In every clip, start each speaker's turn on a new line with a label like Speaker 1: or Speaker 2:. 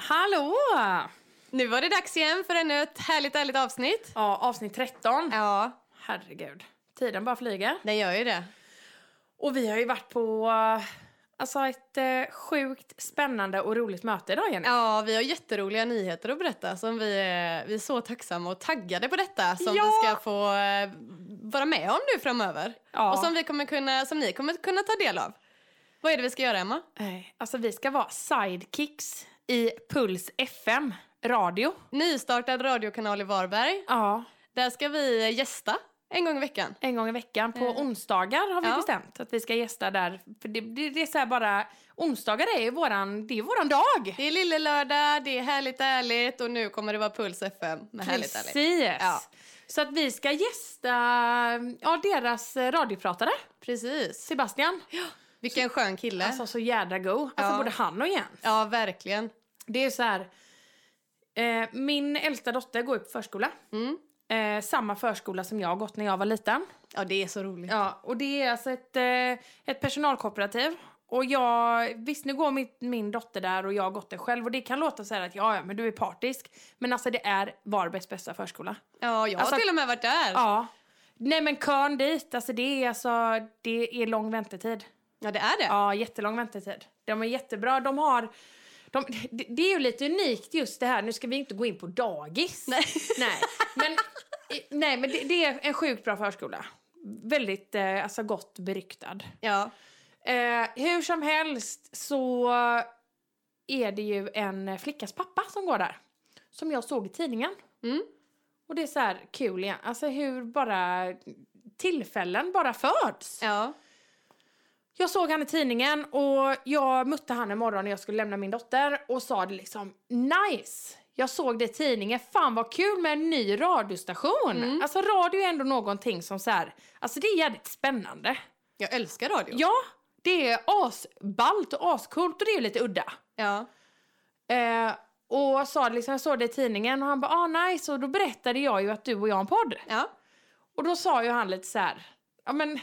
Speaker 1: Hallå!
Speaker 2: Nu var det dags igen för ännu ett härligt, härligt avsnitt.
Speaker 1: Ja, avsnitt 13.
Speaker 2: Ja,
Speaker 1: Herregud, tiden bara flyger.
Speaker 2: den gör ju det.
Speaker 1: Och vi har ju varit på eh, alltså ett eh, sjukt spännande och roligt möte idag, Jenny.
Speaker 2: Ja, vi har jätteroliga nyheter att berätta som vi är, vi är så tacksamma och taggade på detta som
Speaker 1: Ja!
Speaker 2: vi ska få eh, vara med om nu framöver.
Speaker 1: Ja.
Speaker 2: Och som, vi kommer kunna, som ni kommer kunna ta del av. Vad är det vi ska göra, Emma?
Speaker 1: Nej, Alltså, vi ska vara sidekicks i Puls FM radio.
Speaker 2: Nystartad radiokanal i Varberg.
Speaker 1: Ja,
Speaker 2: Där ska vi eh, gästa en gång i veckan.
Speaker 1: en gång i veckan. På
Speaker 2: Mm.
Speaker 1: onsdagar har vi
Speaker 2: Ja.
Speaker 1: bestämt att vi ska gästa där. För det, det, det är så här bara, onsdagar är ju våran, det är våran dag.
Speaker 2: Det är lille lördag, det är härligt ärligt och nu kommer det vara Puls FM med härligt ärligt.
Speaker 1: Precis.
Speaker 2: Ja.
Speaker 1: Så att vi ska gästa ja, deras eh, radiopratare,
Speaker 2: Precis.
Speaker 1: Sebastian.
Speaker 2: Vilken skön kille.
Speaker 1: Alltså så jädra go. Alltså
Speaker 2: Ja.
Speaker 1: både han och Jens.
Speaker 2: ja, verkligen.
Speaker 1: Det är så här. Eh, min äldsta dotter går ju på förskola.
Speaker 2: Mm.
Speaker 1: Eh, samma förskola som jag har gått när jag var liten.
Speaker 2: Ja, det är så roligt.
Speaker 1: Ja, och det är alltså ett, eh, ett personalkooperativ. Och jag, visst nu går min, min dotter där och jag har gått där själv och det kan låta så här att ja, ja men du är partisk. Men alltså det är Varbergs bästa förskola.
Speaker 2: Ja, jag
Speaker 1: Alltså-
Speaker 2: har till och med varit där. Ja,
Speaker 1: Ja. Nej men kön dit, alltså det är alltså, det är lång väntetid.
Speaker 2: det är det.
Speaker 1: Ja, jättelång väntetid. De är jättebra. De har... De, det- det är ju lite unikt just det här, nu ska vi inte gå in på dagis.
Speaker 2: Nej.
Speaker 1: Nej, men, i- nej, men det, det är en sjukt bra förskola. Väldigt eh, alltså gott beryktad.
Speaker 2: Ja.
Speaker 1: Eh, hur som helst så är det ju en flickas pappa som går där. Som jag såg i tidningen.
Speaker 2: Mm.
Speaker 1: Och det är så här kul igen. Alltså hur bara tillfällen bara föds.
Speaker 2: Ja.
Speaker 1: Jag såg han i tidningen och jag mötte han en morgon när jag skulle lämna min dotter och sa det liksom nice. Jag såg det i tidningen, fan vad kul med en ny radiostation. Alltså radio är ändå någonting som så här, alltså det är jävligt spännande.
Speaker 2: Jag älskar radio.
Speaker 1: Ja, det är asballt och ascoolt och det är ju lite udda.
Speaker 2: Ja.
Speaker 1: Eh, och jag sa det liksom, jag såg det i tidningen och han bara ah nice och då berättade jag ju att du och jag har en podd.
Speaker 2: Ja.
Speaker 1: Och då sa ju han lite så här, ja men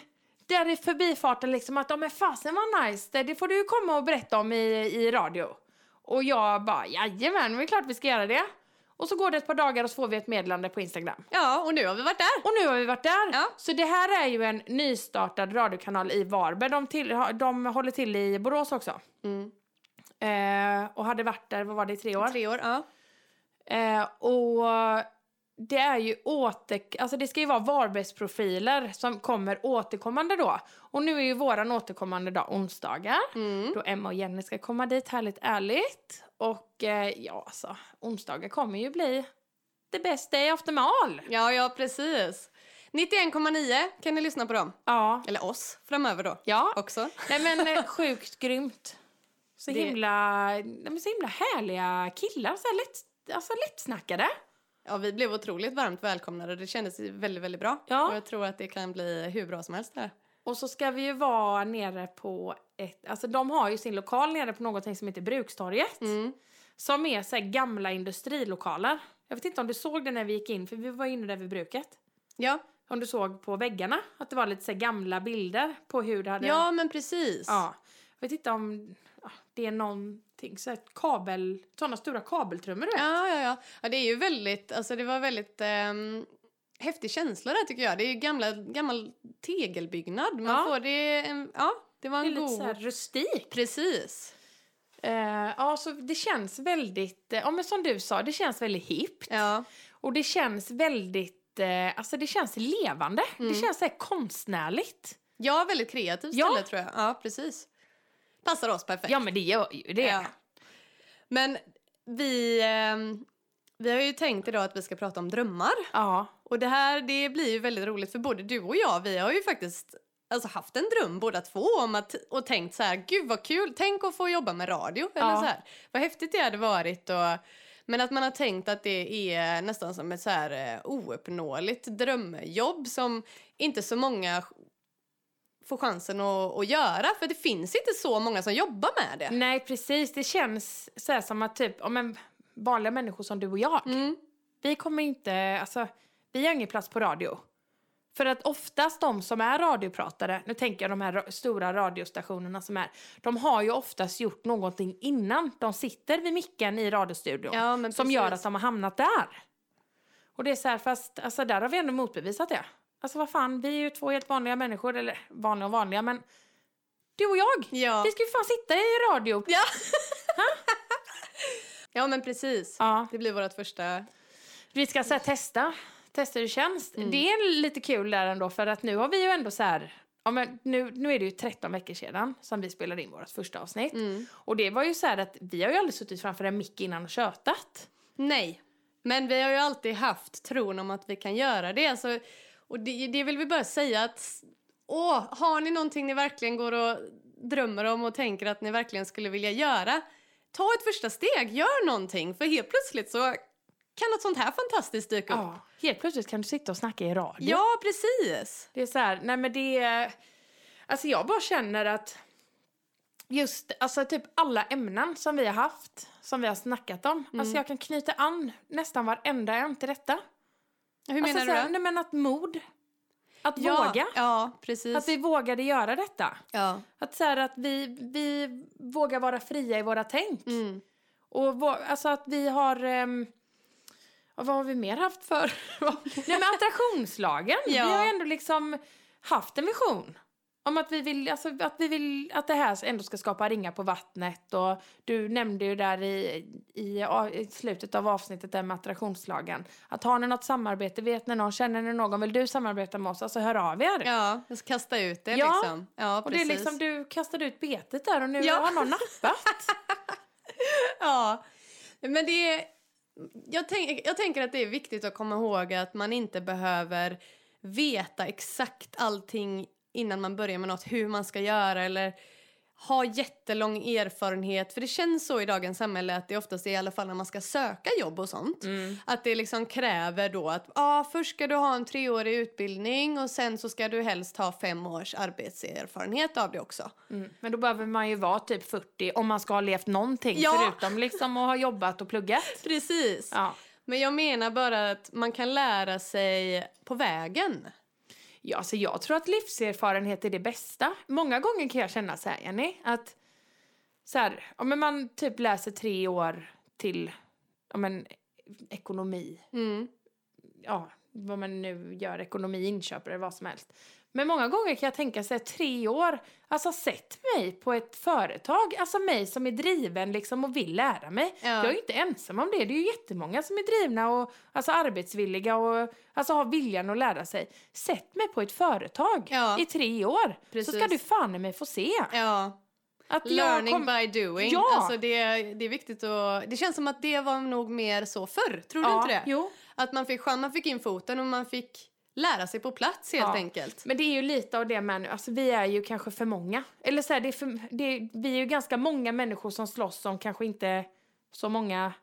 Speaker 1: där i förbifarten liksom att ja men fasen vad nice det, det får du ju komma och berätta om i, i radio. Och jag bara jajamän, det är klart vi ska göra det. Och så går det ett par dagar och så får vi ett meddelande på Instagram.
Speaker 2: ja, och nu har vi varit där.
Speaker 1: Och nu har vi varit där.
Speaker 2: Ja.
Speaker 1: Så det här är ju en nystartad radiokanal i Varberg. De, till, ha- de håller till i Borås också.
Speaker 2: Mm.
Speaker 1: Eh, och hade varit där, vad var det, i tre år?
Speaker 2: Tre år, ja.
Speaker 1: Eh, och det är ju åter... Alltså det ska ju vara Varbergsprofiler som kommer återkommande då. Och nu är ju våran återkommande dag onsdagar.
Speaker 2: Mm.
Speaker 1: Då Emma och Jenny ska komma dit, härligt ärligt. Och eh, ja, alltså onsdagar kommer ju bli the best day after mall.
Speaker 2: Ja, ja, precis. 91,9 kan ni lyssna på dem.
Speaker 1: Ja.
Speaker 2: Eller oss framöver då.
Speaker 1: Ja.
Speaker 2: Också.
Speaker 1: Nej men eh, sjukt grymt. Så
Speaker 2: Det-
Speaker 1: himla, nej, men så himla härliga killar, så här lätt, alltså lättsnackade.
Speaker 2: Ja, vi blev otroligt varmt välkomnade. Det kändes ju väldigt, väldigt bra.
Speaker 1: Ja.
Speaker 2: Och jag tror att det kan bli hur bra som helst där.
Speaker 1: Och så ska vi ju vara nere på ett, alltså de har ju sin lokal nere på någonting som heter Brukstorget.
Speaker 2: Mm.
Speaker 1: Som är så här gamla industrilokaler. Jag vet inte om du såg det när vi gick in, för vi var inne där vid bruket.
Speaker 2: Ja.
Speaker 1: Om du såg på väggarna, att det var lite så här gamla bilder på hur det hade...
Speaker 2: ja, men precis.
Speaker 1: ja. Jag vet inte om ja, det är någonting, så här kabel, sådana stora kabeltrummor du vet.
Speaker 2: Ja, ja, ja. ja det är ju väldigt, alltså det var väldigt ehm, häftig känsla där tycker jag. Det är ju gamla, gammal tegelbyggnad. Man
Speaker 1: Ja.
Speaker 2: får det, en, ja, det var
Speaker 1: Det är
Speaker 2: en
Speaker 1: lite
Speaker 2: god...
Speaker 1: så här rustikt.
Speaker 2: Precis.
Speaker 1: Eh, ja, så det känns väldigt, eh, ja men som du sa, det känns väldigt hippt.
Speaker 2: Ja,
Speaker 1: Och det känns väldigt, eh, alltså det känns levande.
Speaker 2: Mm.
Speaker 1: Det känns så här konstnärligt.
Speaker 2: ja väldigt kreativt
Speaker 1: Ja.
Speaker 2: ställe tror jag. Ja, precis. Passar oss perfekt.
Speaker 1: Ja men det gör ju det.
Speaker 2: Ja. Men vi, ehm, vi har ju tänkt idag att vi ska prata om drömmar.
Speaker 1: Ja.
Speaker 2: Och det här det blir ju väldigt roligt för både du och jag, vi har ju faktiskt Alltså haft en dröm båda två om att och tänkt så här, gud vad kul, tänk att få jobba med radio eller
Speaker 1: Ja.
Speaker 2: så här. Vad häftigt det hade varit och men att man har tänkt att det är nästan som ett så här eh, ouppnåeligt drömjobb som inte så många får chansen att, att göra för det finns inte så många som jobbar med det.
Speaker 1: Nej precis, det känns så här som att typ, ja men vanliga människor som du och jag,
Speaker 2: Mm.
Speaker 1: vi kommer inte, alltså vi har ingen plats på radio. För att oftast de som är radiopratare, nu tänker jag de här ra- stora radiostationerna som är, de har ju oftast gjort någonting innan de sitter vid micken i radiostudion.
Speaker 2: Ja, men
Speaker 1: som gör
Speaker 2: precis.
Speaker 1: att de har hamnat där. Och det är så här, fast alltså, där har vi ändå motbevisat det. Alltså vad fan, vi är ju två helt vanliga människor, eller vanliga och vanliga, men du och jag,
Speaker 2: Ja.
Speaker 1: vi ska ju fan sitta i radio.
Speaker 2: Ja. ja, men precis.
Speaker 1: Ja,
Speaker 2: Det blir vårt första...
Speaker 1: vi ska så här, testa, testa hur det känns. Det är lite kul där ändå, för att nu har vi ju ändå så här, ja, men nu, nu är det ju 13 veckor sedan som vi spelade in vårt första avsnitt. Och det var ju så här att vi har ju aldrig suttit framför en mick innan och tjötat.
Speaker 2: Nej. Men vi har ju alltid haft tron om att vi kan göra det. Alltså, och det, det vill vi bara säga att... Åh, har ni någonting ni verkligen går och drömmer om och tänker att ni verkligen skulle vilja göra? Ta ett första steg, gör någonting. För helt plötsligt så kan något sånt här fantastiskt dyka upp.
Speaker 1: Ja, helt plötsligt kan du sitta och snacka i radio.
Speaker 2: Ja, precis.
Speaker 1: Det är så här, nej men det är... Alltså jag bara känner att just, alltså typ alla ämnen som vi har haft, som vi har snackat om. Alltså jag kan knyta an nästan varenda en till detta.
Speaker 2: Hur
Speaker 1: alltså
Speaker 2: menar
Speaker 1: så här,
Speaker 2: du? då?
Speaker 1: Nej men att mod, att
Speaker 2: ja,
Speaker 1: våga.
Speaker 2: Ja, precis.
Speaker 1: Att vi vågade göra detta.
Speaker 2: ja.
Speaker 1: Att, så här, att vi, vi vågar vara fria i våra tänk.
Speaker 2: Mm.
Speaker 1: Och vå- alltså att vi har... ehm, ja, vad har vi mer haft för? Nej men attraktionslagen.
Speaker 2: Ja.
Speaker 1: Vi har ändå liksom haft en vision. Om att vi vill, alltså, att vi vill att det här ändå ska skapa ringar på vattnet. Och du nämnde ju där i, i, a- i slutet av avsnittet där med attraktionslagen. Att har ni något samarbete, vet ni någon, känner ni någon, vill du samarbeta med oss? Alltså hör av er.
Speaker 2: Ja, jag ska kasta ut det
Speaker 1: Ja,
Speaker 2: liksom. Ja,
Speaker 1: och det är
Speaker 2: precis.
Speaker 1: liksom, du kastade ut betet där och nu
Speaker 2: Ja.
Speaker 1: har någon nappat.
Speaker 2: Ja, men det är... Jag, tänk, jag tänker att det är viktigt att komma ihåg att man inte behöver veta exakt allting innan man börjar med något, hur man ska göra eller ha jättelång erfarenhet. För det känns så i dagens samhälle att det oftast är i alla fall när man ska söka jobb och sånt. Att det liksom kräver då att ah, först ska du ha en treårig utbildning och sen så ska du helst ha fem års arbetserfarenhet av det också.
Speaker 1: Mm. Men då behöver man ju vara typ 40 om man ska ha levt någonting
Speaker 2: Ja.
Speaker 1: förutom liksom att ha jobbat och pluggat.
Speaker 2: Precis.
Speaker 1: Ja.
Speaker 2: Men jag menar bara att man kan lära sig på vägen.
Speaker 1: Ja, så jag tror att livserfarenhet är det bästa. Många gånger kan jag känna så här, Jenny, att så här, ja, men man typ läser tre år till ja, men, ekonomi. Ja, vad man nu gör, ekonomi, inköp eller vad som helst. Men många gånger kan jag tänka så här, tre år, alltså sett mig på ett företag, alltså mig som är driven liksom och vill lära mig.
Speaker 2: Ja.
Speaker 1: Jag är ju inte ensam om det, det är ju jättemånga som är drivna och alltså arbetsvilliga och alltså har viljan att lära sig. Sätt mig på ett företag
Speaker 2: Ja.
Speaker 1: i tre år,
Speaker 2: Precis.
Speaker 1: så ska du fan i mig få se.
Speaker 2: Ja.
Speaker 1: Att jag
Speaker 2: Learning
Speaker 1: kom-
Speaker 2: by doing.
Speaker 1: Ja.
Speaker 2: Alltså det, det är viktigt att... Det känns som att det var nog mer så förr. Tror du
Speaker 1: ja,
Speaker 2: inte det?
Speaker 1: Jo.
Speaker 2: Att man fick, chans- man fick in foten och man fick lära sig på plats helt
Speaker 1: Ja.
Speaker 2: enkelt.
Speaker 1: Men det är ju lite av det med nu. Alltså, vi är ju kanske för många. Eller så här, det är för, det är, vi är ju ganska många människor som slåss som kanske inte så många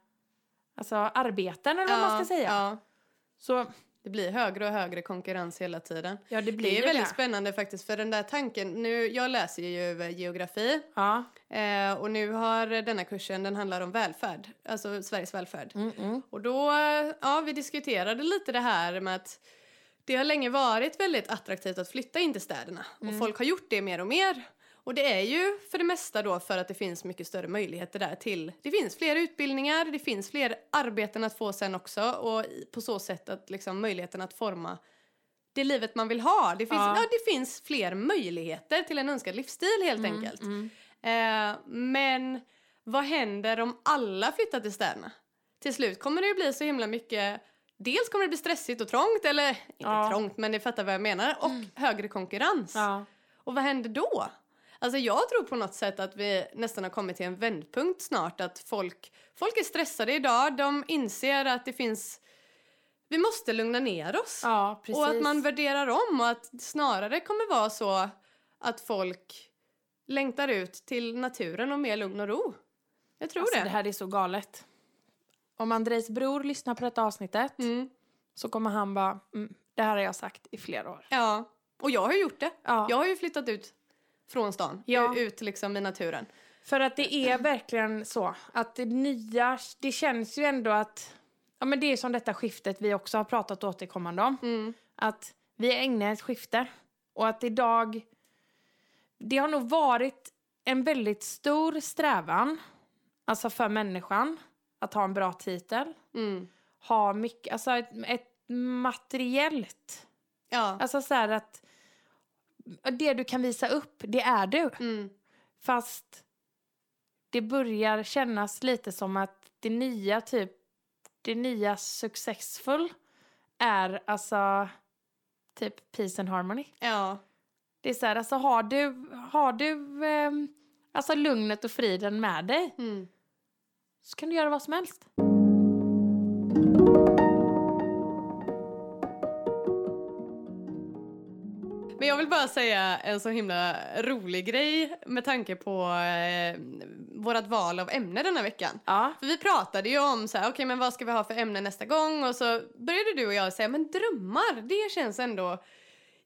Speaker 1: alltså, arbeten eller vad man ska säga.
Speaker 2: Ja.
Speaker 1: Så
Speaker 2: Det blir högre och högre konkurrens hela tiden.
Speaker 1: ja, det blir
Speaker 2: Det
Speaker 1: ju
Speaker 2: är väldigt
Speaker 1: det.
Speaker 2: spännande faktiskt för den där tanken. Nu, jag läser ju eh, geografi
Speaker 1: Ja.
Speaker 2: eh, och nu har denna kursen, den handlar om välfärd. Alltså Sveriges välfärd.
Speaker 1: Mm -mm.
Speaker 2: Och då, eh, ja vi diskuterade lite det här med att det har länge varit väldigt attraktivt att flytta in till städerna
Speaker 1: Mm.
Speaker 2: och folk har gjort det mer och mer. Och det är ju för det mesta då för att det finns mycket större möjligheter där till. Det finns fler utbildningar, det finns fler arbeten att få sen också och i- på så sätt att liksom möjligheten att forma det livet man vill ha. Det finns, ja.
Speaker 1: Ja.
Speaker 2: det finns fler möjligheter till en önskad livsstil helt enkelt.
Speaker 1: Mm.
Speaker 2: Eh, men vad händer om alla flyttar till städerna? Till slut kommer det ju bli så himla mycket... Dels kommer det bli stressigt och trångt, eller inte
Speaker 1: Ja. Mm.
Speaker 2: trångt men ni fattar vad jag menar, och högre konkurrens.
Speaker 1: Ja.
Speaker 2: Och vad händer då? Alltså jag tror på något sätt att vi nästan har kommit till en vändpunkt snart. Att folk, folk är stressade idag, de inser att det finns... Vi måste lugna ner oss.
Speaker 1: ja, precis.
Speaker 2: Och att man värderar om och att det snarare kommer vara så att folk längtar ut till naturen och mer lugn och ro. Jag tror
Speaker 1: alltså,
Speaker 2: det.
Speaker 1: det här är så galet. Om Andrejs bror lyssnar på detta avsnittet
Speaker 2: Mm.
Speaker 1: så kommer han bara, mm, det här har jag sagt i flera år.
Speaker 2: Ja, och jag har ju gjort det.
Speaker 1: Ja.
Speaker 2: Jag har ju flyttat ut från stan,
Speaker 1: Ja.
Speaker 2: u- ut liksom i naturen.
Speaker 1: För att det är verkligen så att det nya, det känns ju ändå att, ja men det är som detta skiftet vi också har pratat återkommande om.
Speaker 2: Mm.
Speaker 1: Att vi ägnar ett skifte. Och att idag... Det har nog varit en väldigt stor strävan, alltså för människan, att ha en bra titel.
Speaker 2: Mm.
Speaker 1: Ha mycket, alltså ett, ett materiellt.
Speaker 2: Ja.
Speaker 1: Alltså så här att det du kan visa upp, det är du.
Speaker 2: Mm.
Speaker 1: Fast det börjar kännas lite som att det nya typ, det nya successful är alltså typ peace and harmony.
Speaker 2: Ja.
Speaker 1: Det är så här, alltså har du, har du ehm, alltså lugnet och friden med dig
Speaker 2: Mm.
Speaker 1: så kan du göra vad som helst.
Speaker 2: Men jag vill bara säga en så himla rolig grej med tanke på eh, vårt val av ämne den här veckan.
Speaker 1: Ja.
Speaker 2: För vi pratade ju om så här, okej men vad ska vi ha för ämne nästa gång och så började du och jag säga men drömmar det känns ändå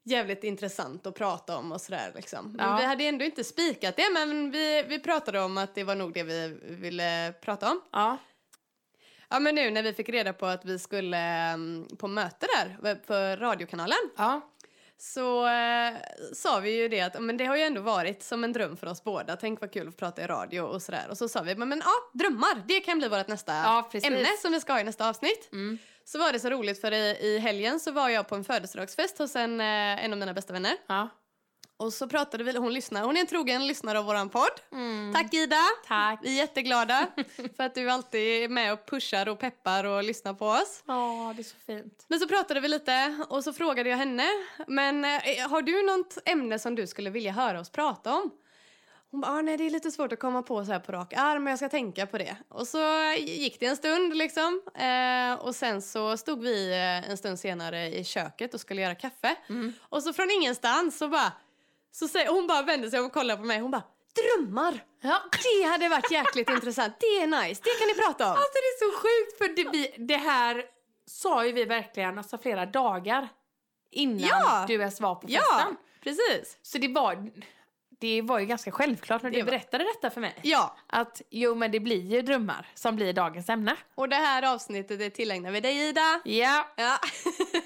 Speaker 2: jävligt intressant att prata om och sådär liksom. Men
Speaker 1: Ja.
Speaker 2: Vi hade ändå inte spikat det men vi, vi pratade om att det var nog det vi ville prata om.
Speaker 1: Ja.
Speaker 2: Ja men nu när vi fick reda på att vi skulle eh, på möte där eh, för radiokanalen
Speaker 1: Ja.
Speaker 2: så eh, sa vi ju det att men det har ju ändå varit som en dröm för oss båda. Tänk vad kul att prata i radio och sådär. Och så sa vi men, men ja, drömmar det kan bli vårt nästa
Speaker 1: Ja, precis.
Speaker 2: ämne som vi ska ha i nästa avsnitt.
Speaker 1: Mm.
Speaker 2: Så var det så roligt för i, i helgen så var jag på en födelsedagsfest hos en, eh, en av mina bästa vänner.
Speaker 1: ja.
Speaker 2: Och så pratade vi, hon lyssnar, hon är en trogen lyssnare av våran podd.
Speaker 1: Mm.
Speaker 2: Tack Ida!
Speaker 1: Tack.
Speaker 2: Vi är jätteglada för att du alltid är med och pushar och peppar och lyssnar på oss.
Speaker 1: Ja, det är så fint.
Speaker 2: Men så pratade vi lite och så frågade jag henne. Men eh, har du något ämne som du skulle vilja höra oss prata om? Hon bara, ah, nej det är lite svårt att komma på så här på rak arm men jag ska tänka på det. Och så gick det en stund liksom. Eh, och sen så stod vi eh, en stund senare i köket och skulle göra kaffe.
Speaker 1: Mm.
Speaker 2: Och så från ingenstans så bara, så säger, hon bara vände sig om och kollade på mig. Hon bara, drömmar!
Speaker 1: Ja.
Speaker 2: Det hade varit jäkligt intressant. Det är nice, det kan ni prata om.
Speaker 1: Alltså det är så sjukt för det, vi, det här sa ju vi verkligen alltså flera dagar innan
Speaker 2: Ja.
Speaker 1: du ens var på
Speaker 2: Ja,
Speaker 1: festen.
Speaker 2: precis.
Speaker 1: Så det var, det var ju ganska självklart när
Speaker 2: Det
Speaker 1: du
Speaker 2: var-
Speaker 1: berättade detta för mig.
Speaker 2: Ja,
Speaker 1: Att jo men det blir ju drömmar som blir dagens ämne.
Speaker 2: Och det här avsnittet är tillägnat vid dig Ida.
Speaker 1: Ja,
Speaker 2: Ja.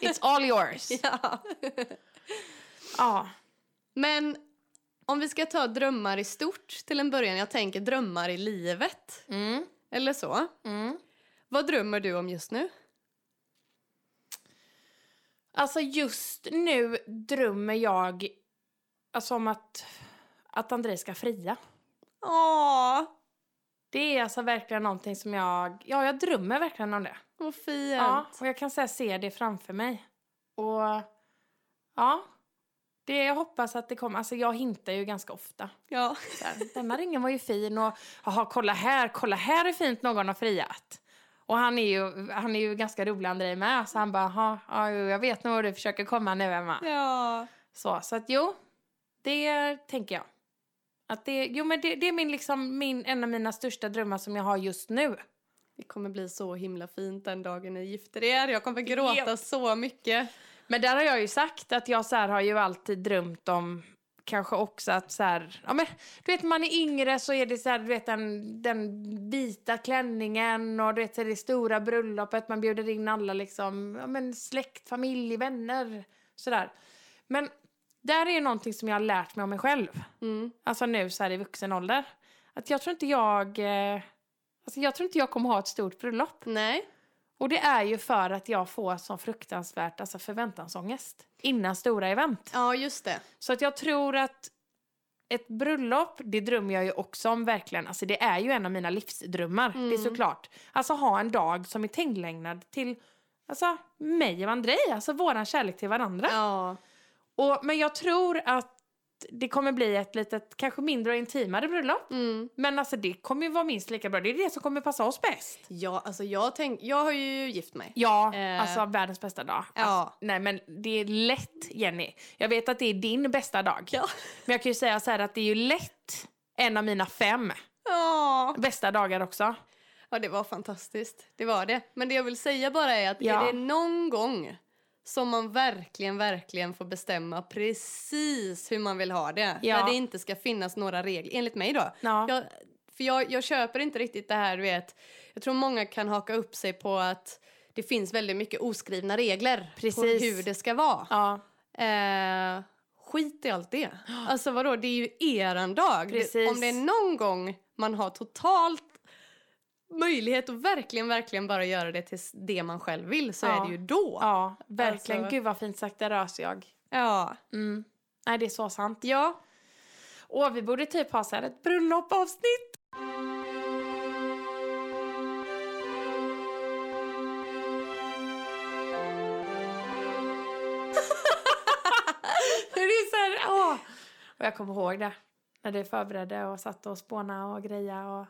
Speaker 1: it's all yours. Ja.
Speaker 2: ja. Men om vi ska ta drömmar i stort till en början. Jag tänker drömmar i livet.
Speaker 1: Mm,
Speaker 2: Eller så.
Speaker 1: mm.
Speaker 2: Vad drömmer du om just nu?
Speaker 1: Alltså just nu drömmer jag alltså om att, att André ska fria.
Speaker 2: Åh,
Speaker 1: Det är alltså verkligen någonting som jag, ja jag drömmer verkligen om det.
Speaker 2: vad fint.
Speaker 1: Ja, och jag kan säga se det framför mig. Och ja, det jag hoppas att det kommer, alltså jag hintar ju ganska ofta.
Speaker 2: Ja.
Speaker 1: Så här, Denna ringen var ju fin och jaha, kolla här, kolla här är fint någon har friat. Och han är ju, han är ju ganska rolig André med, så han bara, "Jaha, ja, jo, jag vet nog vad du försöker komma nu Emma.
Speaker 2: Ja.
Speaker 1: Så, så att jo, det tänker jag. Att det, jo men det, det är min, liksom, min, en av mina största drömmar som jag har just nu.
Speaker 2: Det kommer bli så himla fint den dagen ni gifter er. Jag kommer gråta
Speaker 1: Japp.
Speaker 2: så mycket.
Speaker 1: Men där har jag ju sagt att jag så här har ju alltid drömt om kanske också att så här, ja men du vet när man är yngre så är det så här, du vet den, den vita klänningen och du vet så här, det stora bröllopet, man bjuder in alla liksom, ja men släkt, familj, vänner, sådär. Men där är ju någonting som jag har lärt mig om mig själv,
Speaker 2: Mm.
Speaker 1: alltså nu så här i vuxen ålder. Att jag tror inte jag, eh, alltså jag tror inte jag kommer ha ett stort bröllop.
Speaker 2: Nej.
Speaker 1: Och det är ju för att jag får sån fruktansvärt alltså förväntansångest innan stora event.
Speaker 2: Ja, just det.
Speaker 1: Så att jag tror att ett bröllop, det drömmer jag ju också om verkligen. Alltså det är ju en av mina livsdrömmar,
Speaker 2: Mm.
Speaker 1: det är såklart. Alltså ha en dag som är tillägnad till alltså, mig och Andrei, alltså våran kärlek till varandra.
Speaker 2: Ja.
Speaker 1: Och, men jag tror att det kommer bli ett litet, kanske mindre och intimare bröllop.
Speaker 2: Mm.
Speaker 1: Men alltså det kommer ju vara minst lika bra, det är det som kommer passa oss bäst.
Speaker 2: Ja, alltså jag, tänk, jag har ju gift mig.
Speaker 1: Ja,
Speaker 2: Eh.
Speaker 1: alltså världens bästa dag.
Speaker 2: Ja.
Speaker 1: Alltså, nej men det är lätt Jenny. Jag vet att det är din bästa dag.
Speaker 2: Ja.
Speaker 1: Men jag kan ju säga så här att det är ju lätt en av mina fem
Speaker 2: Ja.
Speaker 1: bästa dagar också.
Speaker 2: Ja, det var fantastiskt. Det var det. Men det jag vill säga bara är att
Speaker 1: Ja.
Speaker 2: är det någon gång som man verkligen, verkligen får bestämma precis hur man vill ha det.
Speaker 1: Ja.
Speaker 2: Där det inte ska finnas några regler, enligt mig då.
Speaker 1: Ja.
Speaker 2: Jag, för jag, jag köper inte riktigt det här, du vet. Jag tror många kan haka upp sig på att det finns väldigt mycket oskrivna regler på
Speaker 1: Precis.
Speaker 2: hur det ska vara.
Speaker 1: Ja.
Speaker 2: Eh, skit i allt det. Alltså vadå, det är ju eran dag. Det-
Speaker 1: Precis.
Speaker 2: Om det är någon gång man har totalt möjlighet att verkligen, verkligen bara göra det till s- det man själv vill så
Speaker 1: Ja.
Speaker 2: är det ju då.
Speaker 1: Ja, verkligen.
Speaker 2: Alltså-
Speaker 1: Gud vad fint sagt, där rörs jag.
Speaker 2: Ja.
Speaker 1: Mm. Nej, det är så sant.
Speaker 2: ja.
Speaker 1: Åh, vi borde typ ha så här ett bröllopavsnitt. det är så här, åh. Och jag kommer ihåg det. När du förberedde och satt och spåna och greja och...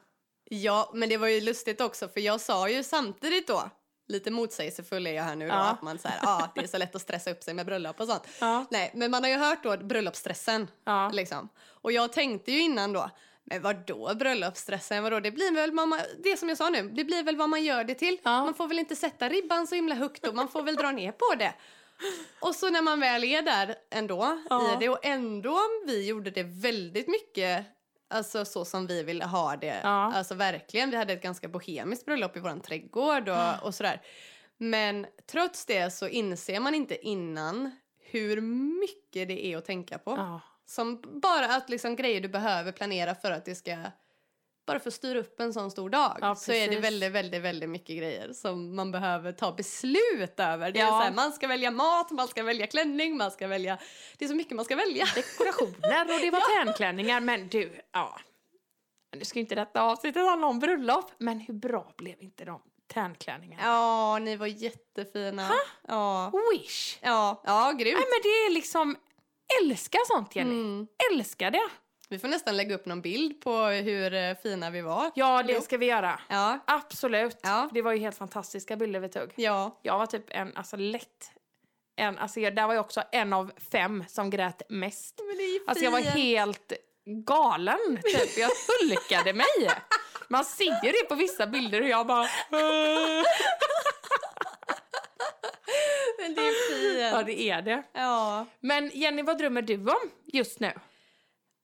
Speaker 2: Ja, men det var ju lustigt också för jag sa ju samtidigt då, lite motsägelsefull är jag här nu då,
Speaker 1: Ja.
Speaker 2: att man säger ja det är så lätt att stressa upp sig med bröllop och sånt.
Speaker 1: Ja.
Speaker 2: Nej, men man har ju hört då bröllopsstressen
Speaker 1: Ja.
Speaker 2: liksom. Och jag tänkte ju innan då, men vadå bröllopsstressen, vadå det blir väl vad man, det som jag sa nu, det blir väl vad man gör det till.
Speaker 1: Ja.
Speaker 2: Man får väl inte sätta ribban så himla högt och man får väl dra ner på det. Och så när man väl är där ändå
Speaker 1: Ja.
Speaker 2: i det och ändå vi gjorde det väldigt mycket alltså så som vi ville ha det.
Speaker 1: Ja.
Speaker 2: Alltså verkligen, vi hade ett ganska bohemiskt bröllop i vår trädgård och, och sådär. Men trots det så inser man inte innan hur mycket det är att tänka på.
Speaker 1: Ja.
Speaker 2: Som bara att liksom grejer du behöver planera för att det ska bara för att styra upp en sån stor dag
Speaker 1: Ja,
Speaker 2: så är det
Speaker 1: precis.
Speaker 2: väldigt, väldigt, väldigt mycket grejer som man behöver ta beslut över. Det är
Speaker 1: Ja.
Speaker 2: så här, man ska välja mat, man ska välja klänning, man ska välja... Det är så mycket man ska välja.
Speaker 1: Dekorationer och det var tärnklänningar. Men du, ja. Nu ska ju inte detta avsnittet handla om bröllop. Men hur bra blev inte de tärnklänningarna?
Speaker 2: Ja, ni var jättefina. Ja.
Speaker 1: Wish!
Speaker 2: Ja, ja grymt.
Speaker 1: Nej men det är liksom, älska sånt Jenny.
Speaker 2: Mm.
Speaker 1: Älska det.
Speaker 2: Vi får nästan lägga upp någon bild på hur eh, fina vi var.
Speaker 1: Ja
Speaker 2: Jo.
Speaker 1: det ska vi göra.
Speaker 2: Ja.
Speaker 1: Absolut.
Speaker 2: Ja.
Speaker 1: Det var ju helt fantastiska bilder vi tog.
Speaker 2: Ja.
Speaker 1: Jag var typ en, alltså lätt, en, alltså jag, där var jag också en av fem som grät mest.
Speaker 2: Men det är ju
Speaker 1: Alltså jag var
Speaker 2: fint.
Speaker 1: helt galen typ, jag hulkade mig. Man ser ju det på vissa bilder och jag bara... "Åh."
Speaker 2: Men det är
Speaker 1: Ja
Speaker 2: fint.
Speaker 1: det är det.
Speaker 2: Ja.
Speaker 1: Men Jenny vad drömmer du om just nu?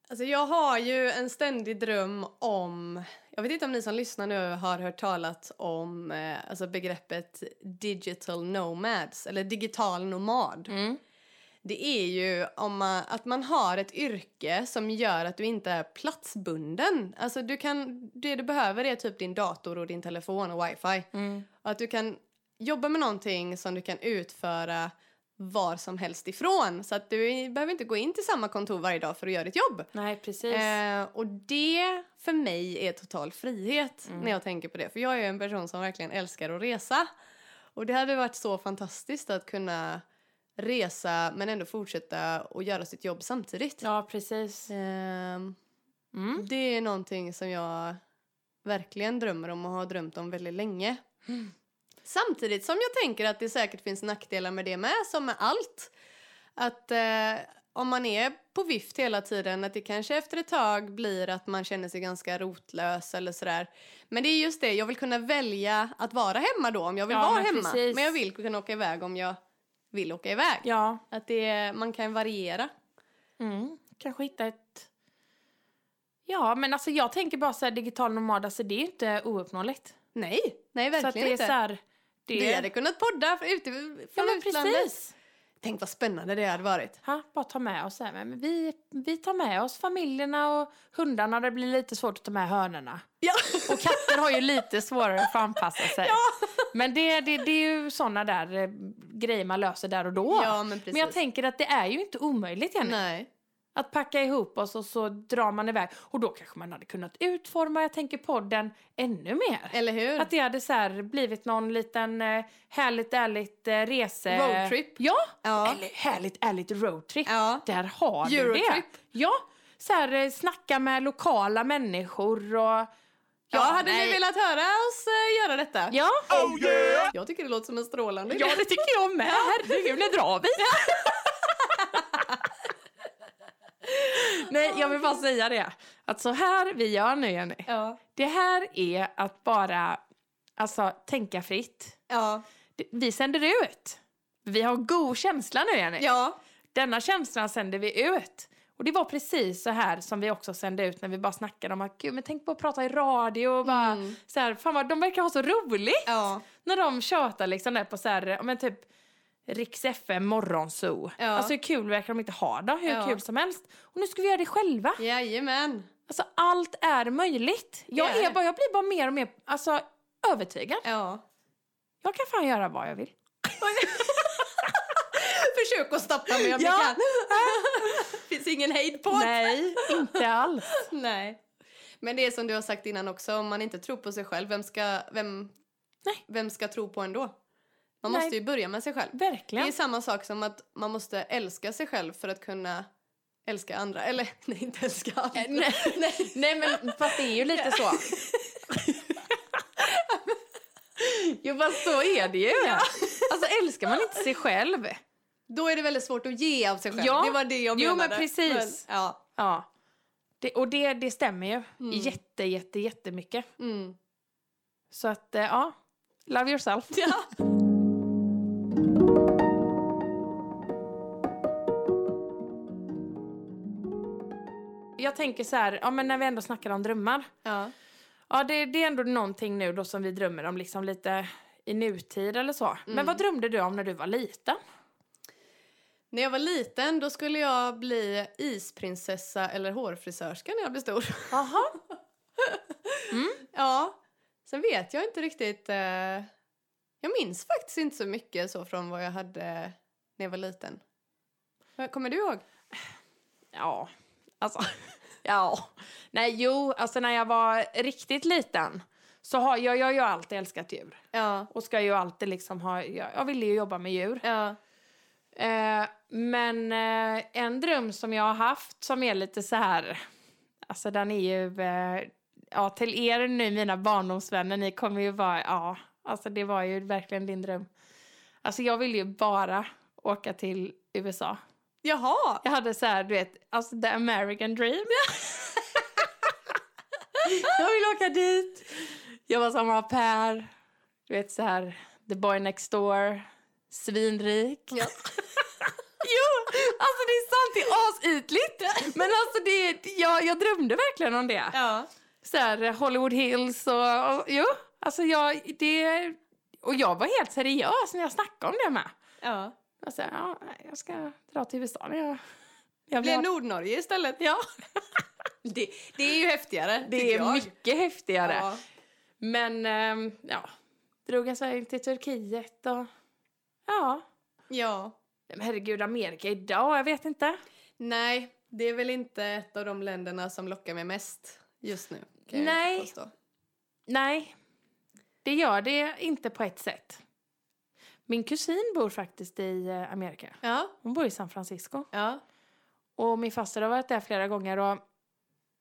Speaker 2: Alltså jag har ju en ständig dröm om... Jag vet inte om ni som lyssnar nu har hört talat om eh, alltså begreppet digital nomads eller digital
Speaker 1: Mm.
Speaker 2: nomad. Det är ju om man, att man har ett yrke som gör att du inte är platsbunden. Alltså du kan, det du behöver är typ din dator och din telefon och wifi.
Speaker 1: mm.
Speaker 2: Och att du kan jobba med någonting som du kan utföra var som helst ifrån. Så att du i- behöver inte gå in till samma kontor varje dag för att göra ditt jobb.
Speaker 1: Nej precis.
Speaker 2: Eh, och det för mig är total frihet
Speaker 1: Mm.
Speaker 2: när jag tänker på det. För jag är ju en person som verkligen älskar att resa. Och det hade varit så fantastiskt att kunna resa men ändå fortsätta och göra sitt jobb samtidigt.
Speaker 1: Ja precis.
Speaker 2: Ehm,
Speaker 1: Mm.
Speaker 2: det är någonting som jag verkligen drömmer om och har drömt om väldigt länge.
Speaker 1: Mm.
Speaker 2: Samtidigt som jag tänker att det säkert finns nackdelar med det med, som med allt. Att eh, om man är på vift hela tiden, att det kanske efter ett tag blir att man känner sig ganska rotlös eller sådär. Men det är just det, jag vill kunna välja att vara hemma då om jag vill
Speaker 1: Ja,
Speaker 2: vara
Speaker 1: men
Speaker 2: hemma.
Speaker 1: precis.
Speaker 2: Men jag vill kunna åka iväg om jag vill åka iväg.
Speaker 1: Ja.
Speaker 2: Att det, man kan variera.
Speaker 1: Mm. Kanske hitta ett... Ja, men alltså jag tänker bara så här digital nomad, alltså det är ju inte ouppnåeligt.
Speaker 2: Nej, nej
Speaker 1: Så att det
Speaker 2: verkligen
Speaker 1: är
Speaker 2: inte.
Speaker 1: så här... Det...
Speaker 2: Vi hade kunnat podda för ute från
Speaker 1: ja, men
Speaker 2: utlandet.
Speaker 1: precis.
Speaker 2: Tänk vad spännande det hade varit.
Speaker 1: Ha, bara ta med oss. så här. Men vi, vi tar med oss familjerna och hundarna. Det blir lite svårt att ta med hönorna.
Speaker 2: Ja.
Speaker 1: Och katter har ju lite svårare att få anpassa sig. Men det, det, det är ju såna där eh, grejer man löser där och då.
Speaker 2: ja, men precis.
Speaker 1: men jag tänker att det är ju inte omöjligt, Jenny.
Speaker 2: Nej.
Speaker 1: Att packa ihop oss och så drar man iväg. Och då kanske man hade kunnat utforma, jag tänker podden, ännu mer.
Speaker 2: Eller hur?
Speaker 1: Att det hade så här blivit någon liten eh, härligt ärligt eh, rese...
Speaker 2: Roadtrip.
Speaker 1: Ja,
Speaker 2: Ja.
Speaker 1: eller härligt ärligt roadtrip.
Speaker 2: Ja.
Speaker 1: Där har du det.
Speaker 2: Eurotrip.
Speaker 1: Ja, så här eh, snacka med lokala människor och... Ja,
Speaker 2: Ja, hade
Speaker 1: nej.
Speaker 2: ni velat höra oss eh, göra detta?
Speaker 1: Ja.
Speaker 2: Jag tycker det låter som en strålande
Speaker 1: ja, det tycker jag med. Herregud, när drar vi? Nej, jag vill bara säga det. Att så här vi gör nu, Jenny.
Speaker 2: Ja.
Speaker 1: Det här är att bara alltså, tänka fritt.
Speaker 2: Ja.
Speaker 1: Det- Vi sänder ut. Vi har god känsla nu, Jenny.
Speaker 2: Ja.
Speaker 1: Denna känslan sänder vi ut. Och det var precis så här som vi också sände ut när vi bara snackade om att gud, men tänk på att prata i radio och bara
Speaker 2: Mm.
Speaker 1: så här, fan vad de verkar ha så roligt
Speaker 2: Ja.
Speaker 1: när de tjatar liksom där på så här, ja, men typ Riks FM morgonzoo.
Speaker 2: Ja.
Speaker 1: Alltså hur kul verkar de inte ha det? Hur
Speaker 2: Ja.
Speaker 1: kul som helst. Och nu ska vi göra det själva.
Speaker 2: Jajamän.
Speaker 1: Alltså allt är möjligt. Jag,
Speaker 2: är
Speaker 1: är
Speaker 2: det.
Speaker 1: bara, jag blir bara mer och mer alltså, övertygad.
Speaker 2: Ja.
Speaker 1: Jag kan fan göra vad jag vill.
Speaker 2: Försök att stoppa mig om
Speaker 1: Ja.
Speaker 2: ni kan. Finns ingen hejd på det.
Speaker 1: Nej, inte alls.
Speaker 2: Nej. Men det är som du har sagt innan också, om man inte tror på sig själv, vem ska, vem,
Speaker 1: Nej.
Speaker 2: Vem ska tro på en då? Man
Speaker 1: Nej.
Speaker 2: måste ju börja med sig själv. Det är
Speaker 1: Verkligen.
Speaker 2: samma sak som att man måste älska sig själv för att kunna älska andra. Eller nej, inte älska andra.
Speaker 1: Äh, Nej,
Speaker 2: nej.
Speaker 1: Nej men fast det är ju lite så. jo fast så är det ju. Alltså älskar man inte sig själv.
Speaker 2: Då är det väldigt svårt att ge av sig själv.
Speaker 1: Ja.
Speaker 2: Det var det jag
Speaker 1: Jo, men
Speaker 2: menade.
Speaker 1: precis.
Speaker 2: Men, ja.
Speaker 1: Ja. Det, och det, det stämmer ju
Speaker 2: Mm.
Speaker 1: jätte, jätte, jättemycket.
Speaker 2: Mm.
Speaker 1: Så att eh, ja, love yourself.
Speaker 2: ja.
Speaker 1: Jag tänker så här, ja men när vi ändå snackar om drömmar.
Speaker 2: ja.
Speaker 1: Ja det, det är ändå någonting nu då som vi drömmer om liksom lite i nutid eller så. Men
Speaker 2: Mm.
Speaker 1: vad drömde du om när du var liten?
Speaker 2: När jag var liten då skulle jag bli isprinsessa eller hårfrisörska när jag blev stor.
Speaker 1: Jaha.
Speaker 2: Ja, sen vet jag inte riktigt. Eh, jag minns faktiskt inte så mycket så från vad jag hade när jag var liten. Eh, Kommer du ihåg?
Speaker 1: Ja, alltså. Ja. Nej, jo, alltså när jag var riktigt liten så har jag, jag har ju alltid älskat djur.
Speaker 2: Ja.
Speaker 1: Och ska ju alltid liksom ha, jag, jag ville ju jobba med djur.
Speaker 2: Ja.
Speaker 1: Eh, men eh, en dröm som jag har haft som är lite så här, alltså den är ju, eh, ja till er nu mina barndomsvänner, ni kommer ju vara, ja, alltså det var ju verkligen din dröm. Alltså jag ville ju bara åka till USA.
Speaker 2: Jaha!
Speaker 1: Jag hade så här, du vet, alltså the American dream. jag vill åka dit. Jag var som au pair. Du vet så här, the boy next door. Svinrik.
Speaker 2: Ja.
Speaker 1: jo, alltså det är sant, det är asytligt. Men alltså det, jag, jag drömde verkligen om det.
Speaker 2: Ja.
Speaker 1: Så här, Hollywood Hills och, och jo, alltså jag, det, och jag var helt seriös när jag snackade om det med.
Speaker 2: ja.
Speaker 1: Jag sa, ja, nej, jag ska dra till USA när jag, jag
Speaker 2: Blev Nordnorge istället.
Speaker 1: Ja,
Speaker 2: Det, det är ju häftigare,
Speaker 1: det är mycket häftigare.
Speaker 2: Ja.
Speaker 1: Men ehm, ja, drog en sväng till Turkiet och ja.
Speaker 2: ja.
Speaker 1: Men herregud, Amerika idag, jag vet inte.
Speaker 2: Nej, det är väl inte ett av de länderna som lockar mig mest just nu. Kan jag
Speaker 1: Nej.
Speaker 2: inte påstå.
Speaker 1: Nej, det gör det inte på ett sätt. Min kusin bor faktiskt i eh, Amerika.
Speaker 2: Ja.
Speaker 1: Hon bor i San Francisco.
Speaker 2: Ja.
Speaker 1: Och min faster har varit där flera gånger och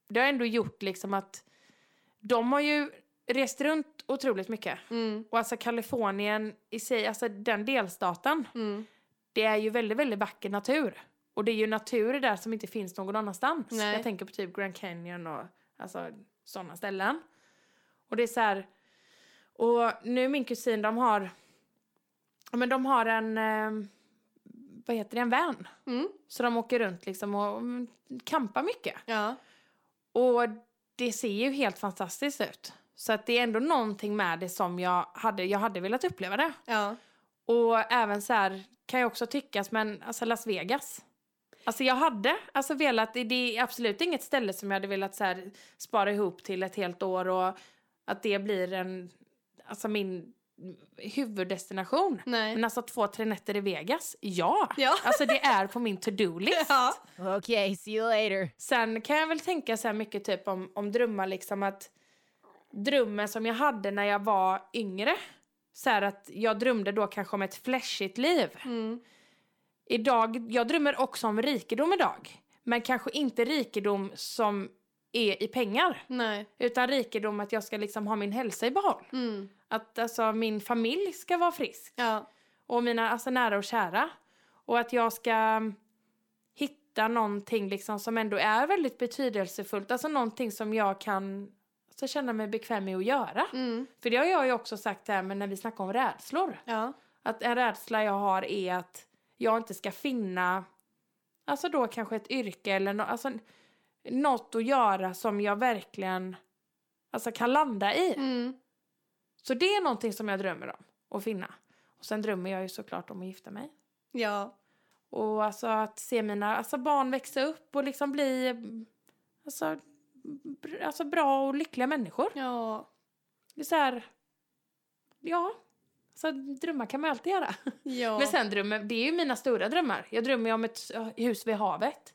Speaker 1: det har ändå gjort liksom att de har ju rest runt otroligt mycket.
Speaker 2: Mm.
Speaker 1: Och alltså Kalifornien i sig, alltså den delstaten,
Speaker 2: Mm.
Speaker 1: det är ju väldigt, väldigt vacker natur. Och det är ju natur där som inte finns någon annanstans.
Speaker 2: Nej.
Speaker 1: Jag tänker på typ Grand Canyon och alltså sådana ställen. Och det är så här, och nu är min kusin, de har, ja, men de har en, eh, vad heter det, en van.
Speaker 2: Mm.
Speaker 1: Så de åker runt liksom och mm, campar mycket.
Speaker 2: Ja.
Speaker 1: Och det ser ju helt fantastiskt ut. Så att det är ändå någonting med det som jag hade, jag hade velat uppleva det.
Speaker 2: Ja.
Speaker 1: Och även så här kan jag också tyckas, men alltså Las Vegas. Alltså jag hade alltså velat, det- det är absolut inget ställe som jag hade velat så här spara ihop till ett helt år och att det blir en, alltså min huvuddestination.
Speaker 2: Nej.
Speaker 1: Men alltså två, tre nätter i Vegas, ja!
Speaker 2: Ja.
Speaker 1: Alltså det är på min to-do-list.
Speaker 2: Ja.
Speaker 3: Okay, see you later.
Speaker 1: Sen kan jag väl tänka så här mycket typ om, om drömmar liksom att drömmen som jag hade när jag var yngre så här att jag drömde då kanske om ett flashigt liv.
Speaker 2: Mm.
Speaker 1: Idag, jag drömmer också om rikedom idag. Men kanske inte rikedom som är i pengar.
Speaker 2: Nej.
Speaker 1: Utan rikedom att jag ska liksom ha min hälsa i behåll.
Speaker 2: Mm.
Speaker 1: Att alltså min familj ska vara frisk.
Speaker 2: Ja.
Speaker 1: Och mina alltså, nära och kära. Och att jag ska hitta någonting liksom, som ändå är väldigt betydelsefullt. Alltså någonting som jag kan alltså, känna mig bekväm med att göra.
Speaker 2: Mm.
Speaker 1: För det har jag ju också sagt här men när vi snackar om rädslor.
Speaker 2: Ja.
Speaker 1: Att en rädsla jag har är att jag inte ska finna, alltså då kanske ett yrke eller no, alltså, något att göra som jag verkligen alltså, kan landa i.
Speaker 2: Mm.
Speaker 1: Så det är någonting som jag drömmer om att finna. Och sen drömmer jag ju såklart om att gifta mig.
Speaker 2: Ja.
Speaker 1: Och alltså att se mina alltså barn växa upp och liksom bli mm, alltså, br- alltså bra och lyckliga människor.
Speaker 2: Ja.
Speaker 1: Det är så här, ja, alltså, drömmar kan man alltid göra.
Speaker 2: Ja.
Speaker 1: Men sen drömmer, det är ju mina stora drömmar. Jag drömmer ju om ett eh, hus vid havet.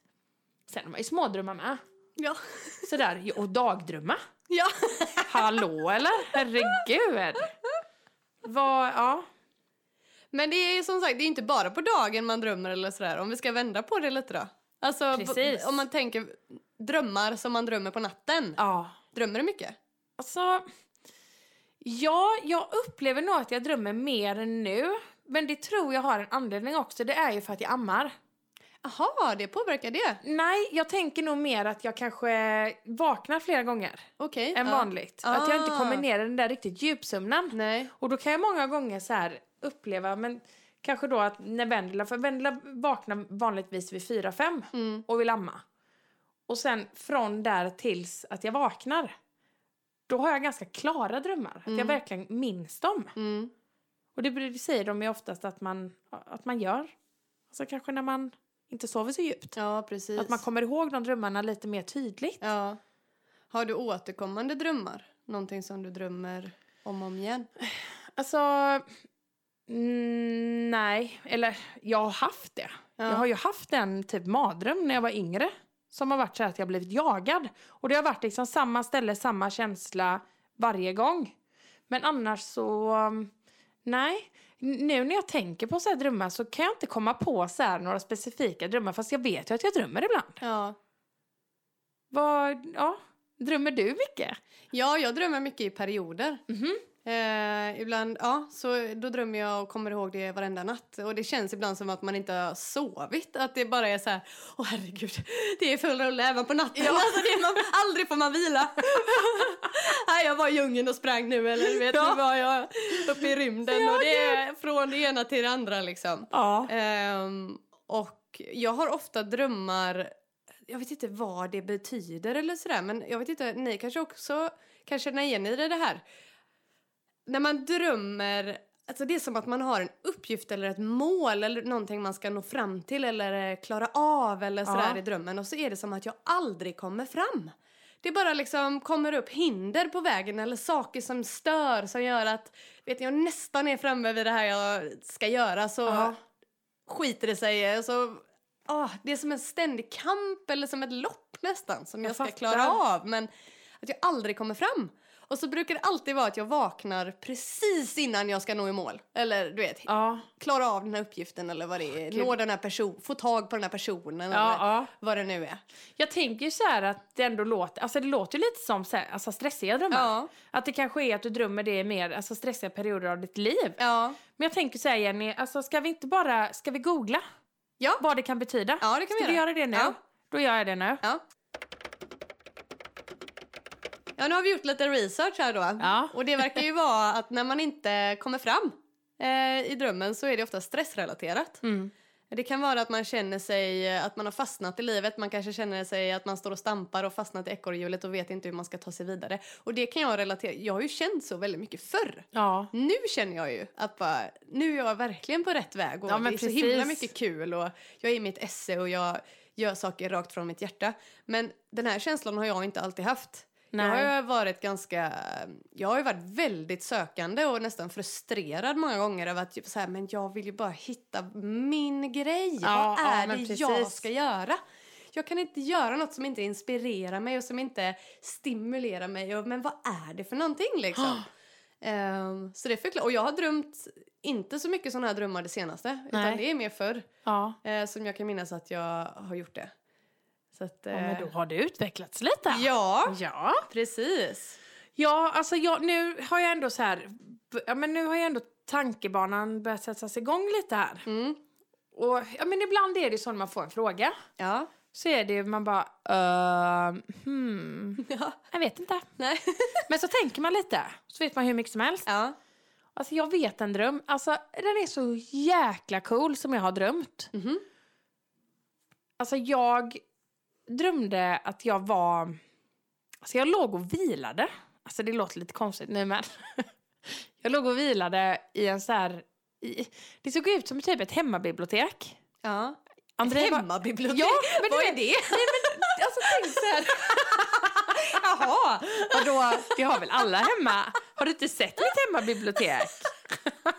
Speaker 1: Sen har man ju smådrömmar med.
Speaker 2: ja.
Speaker 1: Sådär, ja, och dagdrömmar.
Speaker 2: Ja.
Speaker 1: Hallå eller? Herregud. Vad, ja.
Speaker 2: Men det är ju som sagt, det är inte bara på dagen man drömmer eller sådär. Om vi ska vända på det lite då. Alltså b-
Speaker 1: Precis.
Speaker 2: om man tänker drömmar som man drömmer på natten.
Speaker 1: Ja.
Speaker 2: Drömmer du mycket?
Speaker 1: Alltså, ja, jag upplever nog att jag drömmer mer nu. Men det tror jag har en anledning också. Det är ju för att jag ammar.
Speaker 2: Jaha, det påverkar det.
Speaker 1: Nej, jag tänker nog mer att jag kanske vaknar flera gånger
Speaker 2: Okej.
Speaker 1: än
Speaker 2: ja.
Speaker 1: vanligt. Att jag inte
Speaker 2: Ah.
Speaker 1: kommer ner i den där riktigt djupsömnen.
Speaker 2: Nej.
Speaker 1: Och då kan jag många gånger så här uppleva, men kanske då att när Vendela, för Vendela vaknar vanligtvis vid 4-5
Speaker 2: Mm.
Speaker 1: och vill amma. Och sen från där tills att jag vaknar, då har jag ganska klara drömmar. Att jag
Speaker 2: Mm.
Speaker 1: verkligen minns dem.
Speaker 2: Mm.
Speaker 1: Och det blir- säger de ju oftast att man, att man gör. Alltså kanske när man inte sover så djupt.
Speaker 2: Ja, precis.
Speaker 1: Att man kommer ihåg de drömmarna lite mer tydligt.
Speaker 2: Ja. Har du återkommande drömmar? Någonting som du drömmer om och om igen?
Speaker 1: Alltså, mm, nej. Eller jag har haft det.
Speaker 2: Ja.
Speaker 1: Jag har ju haft en typ mardröm när jag var yngre. Som har varit så här att jag blivit jagad. Och det har varit liksom samma ställe, samma känsla varje gång. Men annars så, um, nej. N- Nu när jag tänker på så här drömmar så kan jag inte komma på så här några specifika drömmar. Fast jag vet ju att jag drömmer ibland.
Speaker 2: Ja.
Speaker 1: Vad, ja. Drömmer du mycket?
Speaker 2: Ja, jag drömmer mycket i perioder. Eh, ibland, ja, så då drömmer jag och kommer ihåg det varenda natt. Och det känns ibland som att man inte har sovit. Att det bara är så här, åh herregud, det är full rulle även på natten. Alltså, det är man, aldrig får man vila. Nej, jag var i djungeln och sprang nu eller du vet, nu var jag uppe i rymden. och det är från det ena till det andra liksom.
Speaker 1: Ja.
Speaker 2: Ehm, och jag har ofta drömmar, jag vet inte vad det betyder eller sådär, men jag vet inte, ni kanske också kan känna igen er i det här. När man drömmer, alltså det är som att man har en uppgift eller ett mål eller någonting man ska nå fram till eller eh, klara av eller sådär
Speaker 1: Ja.
Speaker 2: i drömmen och så är det som att jag aldrig kommer fram. Det bara liksom kommer upp hinder på vägen eller saker som stör som gör att vet ni, jag nästan är framme vid det här jag ska göra så
Speaker 1: Ja.
Speaker 2: skiter det sig. eh, Så, ah, det är som en ständig kamp eller som ett lopp nästan som jag,
Speaker 1: Jag
Speaker 2: ska
Speaker 1: fattar.
Speaker 2: klara av. Men att jag aldrig kommer fram. Och så brukar det alltid vara att jag vaknar precis innan jag ska nå i mål. Eller du vet,
Speaker 1: Ja.
Speaker 2: klara av den här uppgiften eller vad det är.
Speaker 1: Gud.
Speaker 2: Nå den här personen, få tag på den här personen
Speaker 1: Ja,
Speaker 2: eller
Speaker 1: ja.
Speaker 2: vad det nu är.
Speaker 1: Jag tänker ju så här att det ändå låter, alltså det låter ju lite som så här, alltså stressiga drömmar.
Speaker 2: Ja,
Speaker 1: Att det kanske är att du drömmer det i mer, alltså stressiga perioder av ditt liv.
Speaker 2: ja,
Speaker 1: Men jag tänker säga Jenny, alltså ska vi inte bara, ska vi googla
Speaker 2: Ja.
Speaker 1: vad det kan betyda?
Speaker 2: ja det kan
Speaker 1: Ska
Speaker 2: vi
Speaker 1: vi
Speaker 2: göra.
Speaker 1: göra det nu?
Speaker 2: Ja.
Speaker 1: Då gör jag det nu.
Speaker 2: Ja. ja, nu har vi gjort lite research här då.
Speaker 1: Ja.
Speaker 2: Och det verkar ju vara att när man inte kommer fram eh, i drömmen så är det ofta stressrelaterat.
Speaker 1: Mm.
Speaker 2: Det kan vara att man känner sig eh, att man har fastnat i livet. Man kanske känner sig att man står och stampar och fastnat i ekorrhjulet och vet inte hur man ska ta sig vidare. Och det kan jag relatera. Jag har ju känt så väldigt mycket förr.
Speaker 1: Ja.
Speaker 2: Nu känner jag ju att bara, nu är jag verkligen på rätt väg och
Speaker 1: Ja,
Speaker 2: det är
Speaker 1: men
Speaker 2: så himla
Speaker 1: precis.
Speaker 2: mycket kul och jag är i mitt esse och jag gör saker rakt från mitt hjärta. Men den här känslan har jag inte alltid haft.
Speaker 1: Nej.
Speaker 2: Jag har ju varit ganska, jag har ju varit väldigt sökande och nästan frustrerad många gånger över att typ så här, men jag vill ju bara hitta min grej.
Speaker 1: Ja,
Speaker 2: Vad
Speaker 1: ja,
Speaker 2: är det
Speaker 1: men
Speaker 2: jag
Speaker 1: precis.
Speaker 2: ska göra? Jag kan inte göra något som inte inspirerar mig och som inte stimulerar mig. Och, men vad är det för någonting liksom? Ehm, så det förklarar. Och jag har drömt inte så mycket sådana här drömmar det senaste. Utan
Speaker 1: Nej.
Speaker 2: det är mer förr
Speaker 1: Ja.
Speaker 2: eh, som jag kan minnas att jag har gjort det. Så att,
Speaker 1: ja, men
Speaker 2: eh,
Speaker 1: då har det utvecklats lite.
Speaker 2: ja,
Speaker 1: Ja.
Speaker 2: precis.
Speaker 1: Ja, alltså jag, nu har jag ändå så här, ja men nu har jag ändå tankebanan börjat sättas igång lite här.
Speaker 2: Mm.
Speaker 1: Och ja men ibland är det så när man får en fråga.
Speaker 2: Ja.
Speaker 1: så är det ju man bara ehm, hmm,
Speaker 2: ja.
Speaker 1: jag vet inte.
Speaker 2: Nej.
Speaker 1: Men så tänker man lite, så vet man hur mycket som helst.
Speaker 2: ja.
Speaker 1: Alltså jag vet en dröm, alltså den är så jäkla cool som jag har drömt.
Speaker 2: Mhm.
Speaker 1: Alltså jag drömde att jag var, alltså jag låg och vilade. Alltså det låter lite konstigt nu men. jag låg och vilade i en så här i- det såg ut som typ ett hemmabibliotek.
Speaker 2: Ja.
Speaker 1: André var-
Speaker 2: Hemmabibliotek?
Speaker 1: Ja, men du
Speaker 2: Vad är
Speaker 1: vet-
Speaker 2: det?
Speaker 1: Alltså tänk så här.
Speaker 2: Jaha!
Speaker 1: Vadå, det har väl alla hemma? Har du inte sett mitt hemmabibliotek?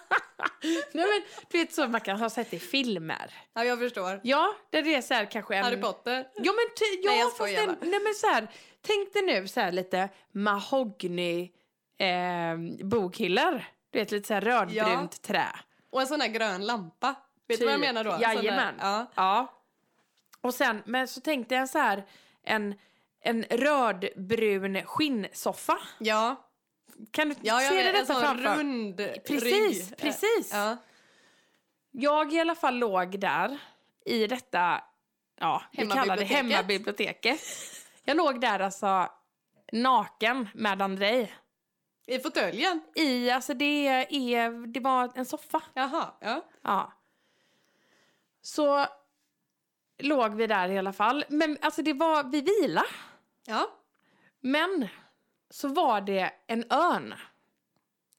Speaker 1: Nej men du vet så man kan ha sett i filmer.
Speaker 2: Ja, jag förstår.
Speaker 1: Ja, där det är så här kanske en...
Speaker 2: Harry Potter.
Speaker 1: Ja men, ty, ja,
Speaker 2: Nej, jag
Speaker 1: fast
Speaker 2: skojar
Speaker 1: en, nej, men så här, tänk dig nu så här lite mahogny eh, bokhyllor. Du vet lite så här rödbrunt trä.
Speaker 2: Och en sån där grön lampa. Vet du vad jag
Speaker 1: Typ.
Speaker 2: menar då? En sån
Speaker 1: Jajamän.
Speaker 2: Där, ja.
Speaker 1: Ja. Och sen, men så tänkte jag så här en, en rödbrun skinnsoffa.
Speaker 2: ja.
Speaker 1: Kan du
Speaker 2: Ja, jag
Speaker 1: se
Speaker 2: vet,
Speaker 1: dig
Speaker 2: en
Speaker 1: detta
Speaker 2: sån
Speaker 1: framför?
Speaker 2: rund
Speaker 1: Precis,
Speaker 2: rygg.
Speaker 1: precis.
Speaker 2: Ja.
Speaker 1: Jag i alla fall låg där i detta, ja, vi kallar det
Speaker 2: Hemmabiblioteket.
Speaker 1: hemmabiblioteket. Jag låg där alltså naken med Andrei.
Speaker 2: I fåtöljen?
Speaker 1: I, alltså det är, det var en soffa.
Speaker 2: Jaha. Ja.
Speaker 1: Ja. Så låg vi där i alla fall. Men alltså det var, vi vila.
Speaker 2: ja.
Speaker 1: Men så var det en örn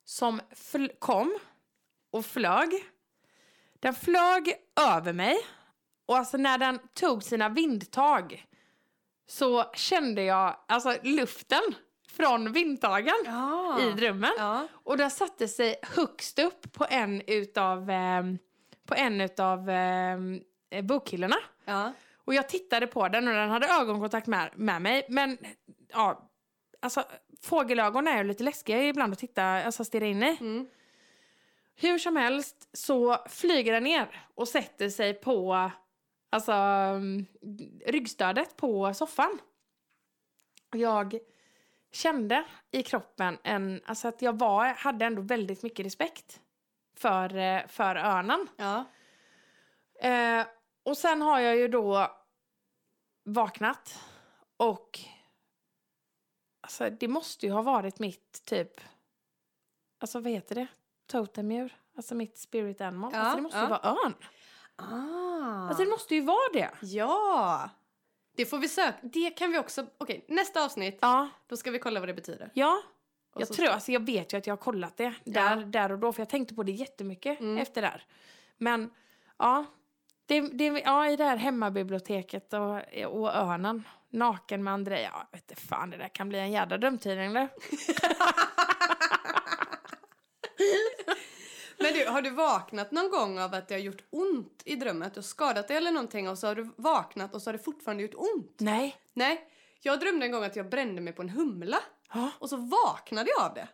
Speaker 1: som fl- kom och flög. Den flög över mig och alltså när den tog sina vindtag så kände jag alltså luften från vindtagen
Speaker 2: Ja.
Speaker 1: i drömmen.
Speaker 2: Ja.
Speaker 1: Och den satte sig högst upp på en utav, ehm, på en utav ehm, eh, bokhyllorna.
Speaker 2: ja.
Speaker 1: Och jag tittade på den och den hade ögonkontakt med, med mig. Men ja, alltså fågelögon är ju lite läskiga ibland att titta, alltså stirra in i.
Speaker 2: Mm.
Speaker 1: Hur som helst så flyger den ner och sätter sig på alltså mm, ryggstödet på soffan. Och Jag kände i kroppen en, alltså att jag var, hade ändå väldigt mycket respekt för, eh, för örnen.
Speaker 2: ja.
Speaker 1: Eh, och sen har jag ju då vaknat och alltså det måste ju ha varit mitt typ, alltså vad heter det? Totemdjur, alltså mitt spirit animal.
Speaker 2: Ja,
Speaker 1: alltså det måste ju
Speaker 2: ja.
Speaker 1: vara örn.
Speaker 2: Ah.
Speaker 1: Alltså det måste ju vara det.
Speaker 2: ja. Det får vi söka. Det kan vi också... Okej, nästa avsnitt.
Speaker 1: Ja,
Speaker 2: Då ska vi kolla vad det betyder.
Speaker 1: ja.
Speaker 2: Och
Speaker 1: jag
Speaker 2: så
Speaker 1: tror,
Speaker 2: ska-
Speaker 1: alltså jag vet ju att jag har kollat det där, där och då för jag tänkte på det jättemycket
Speaker 2: Mm.
Speaker 1: efter det här. Men ja, det, det, ja, i det här hemmabiblioteket och, och örnen. Naken med Andrea. Ja, jag vet inte fan, det där kan bli en jädra drömtidning det.
Speaker 2: Men du, har du vaknat någon gång av att det har gjort ont i drömmen? Att du har skadat dig eller någonting och så har du vaknat och så har det fortfarande gjort ont?
Speaker 1: Nej.
Speaker 2: Nej, jag drömde en gång att jag brände mig på en humla
Speaker 1: Ja.
Speaker 2: och så vaknade jag av det.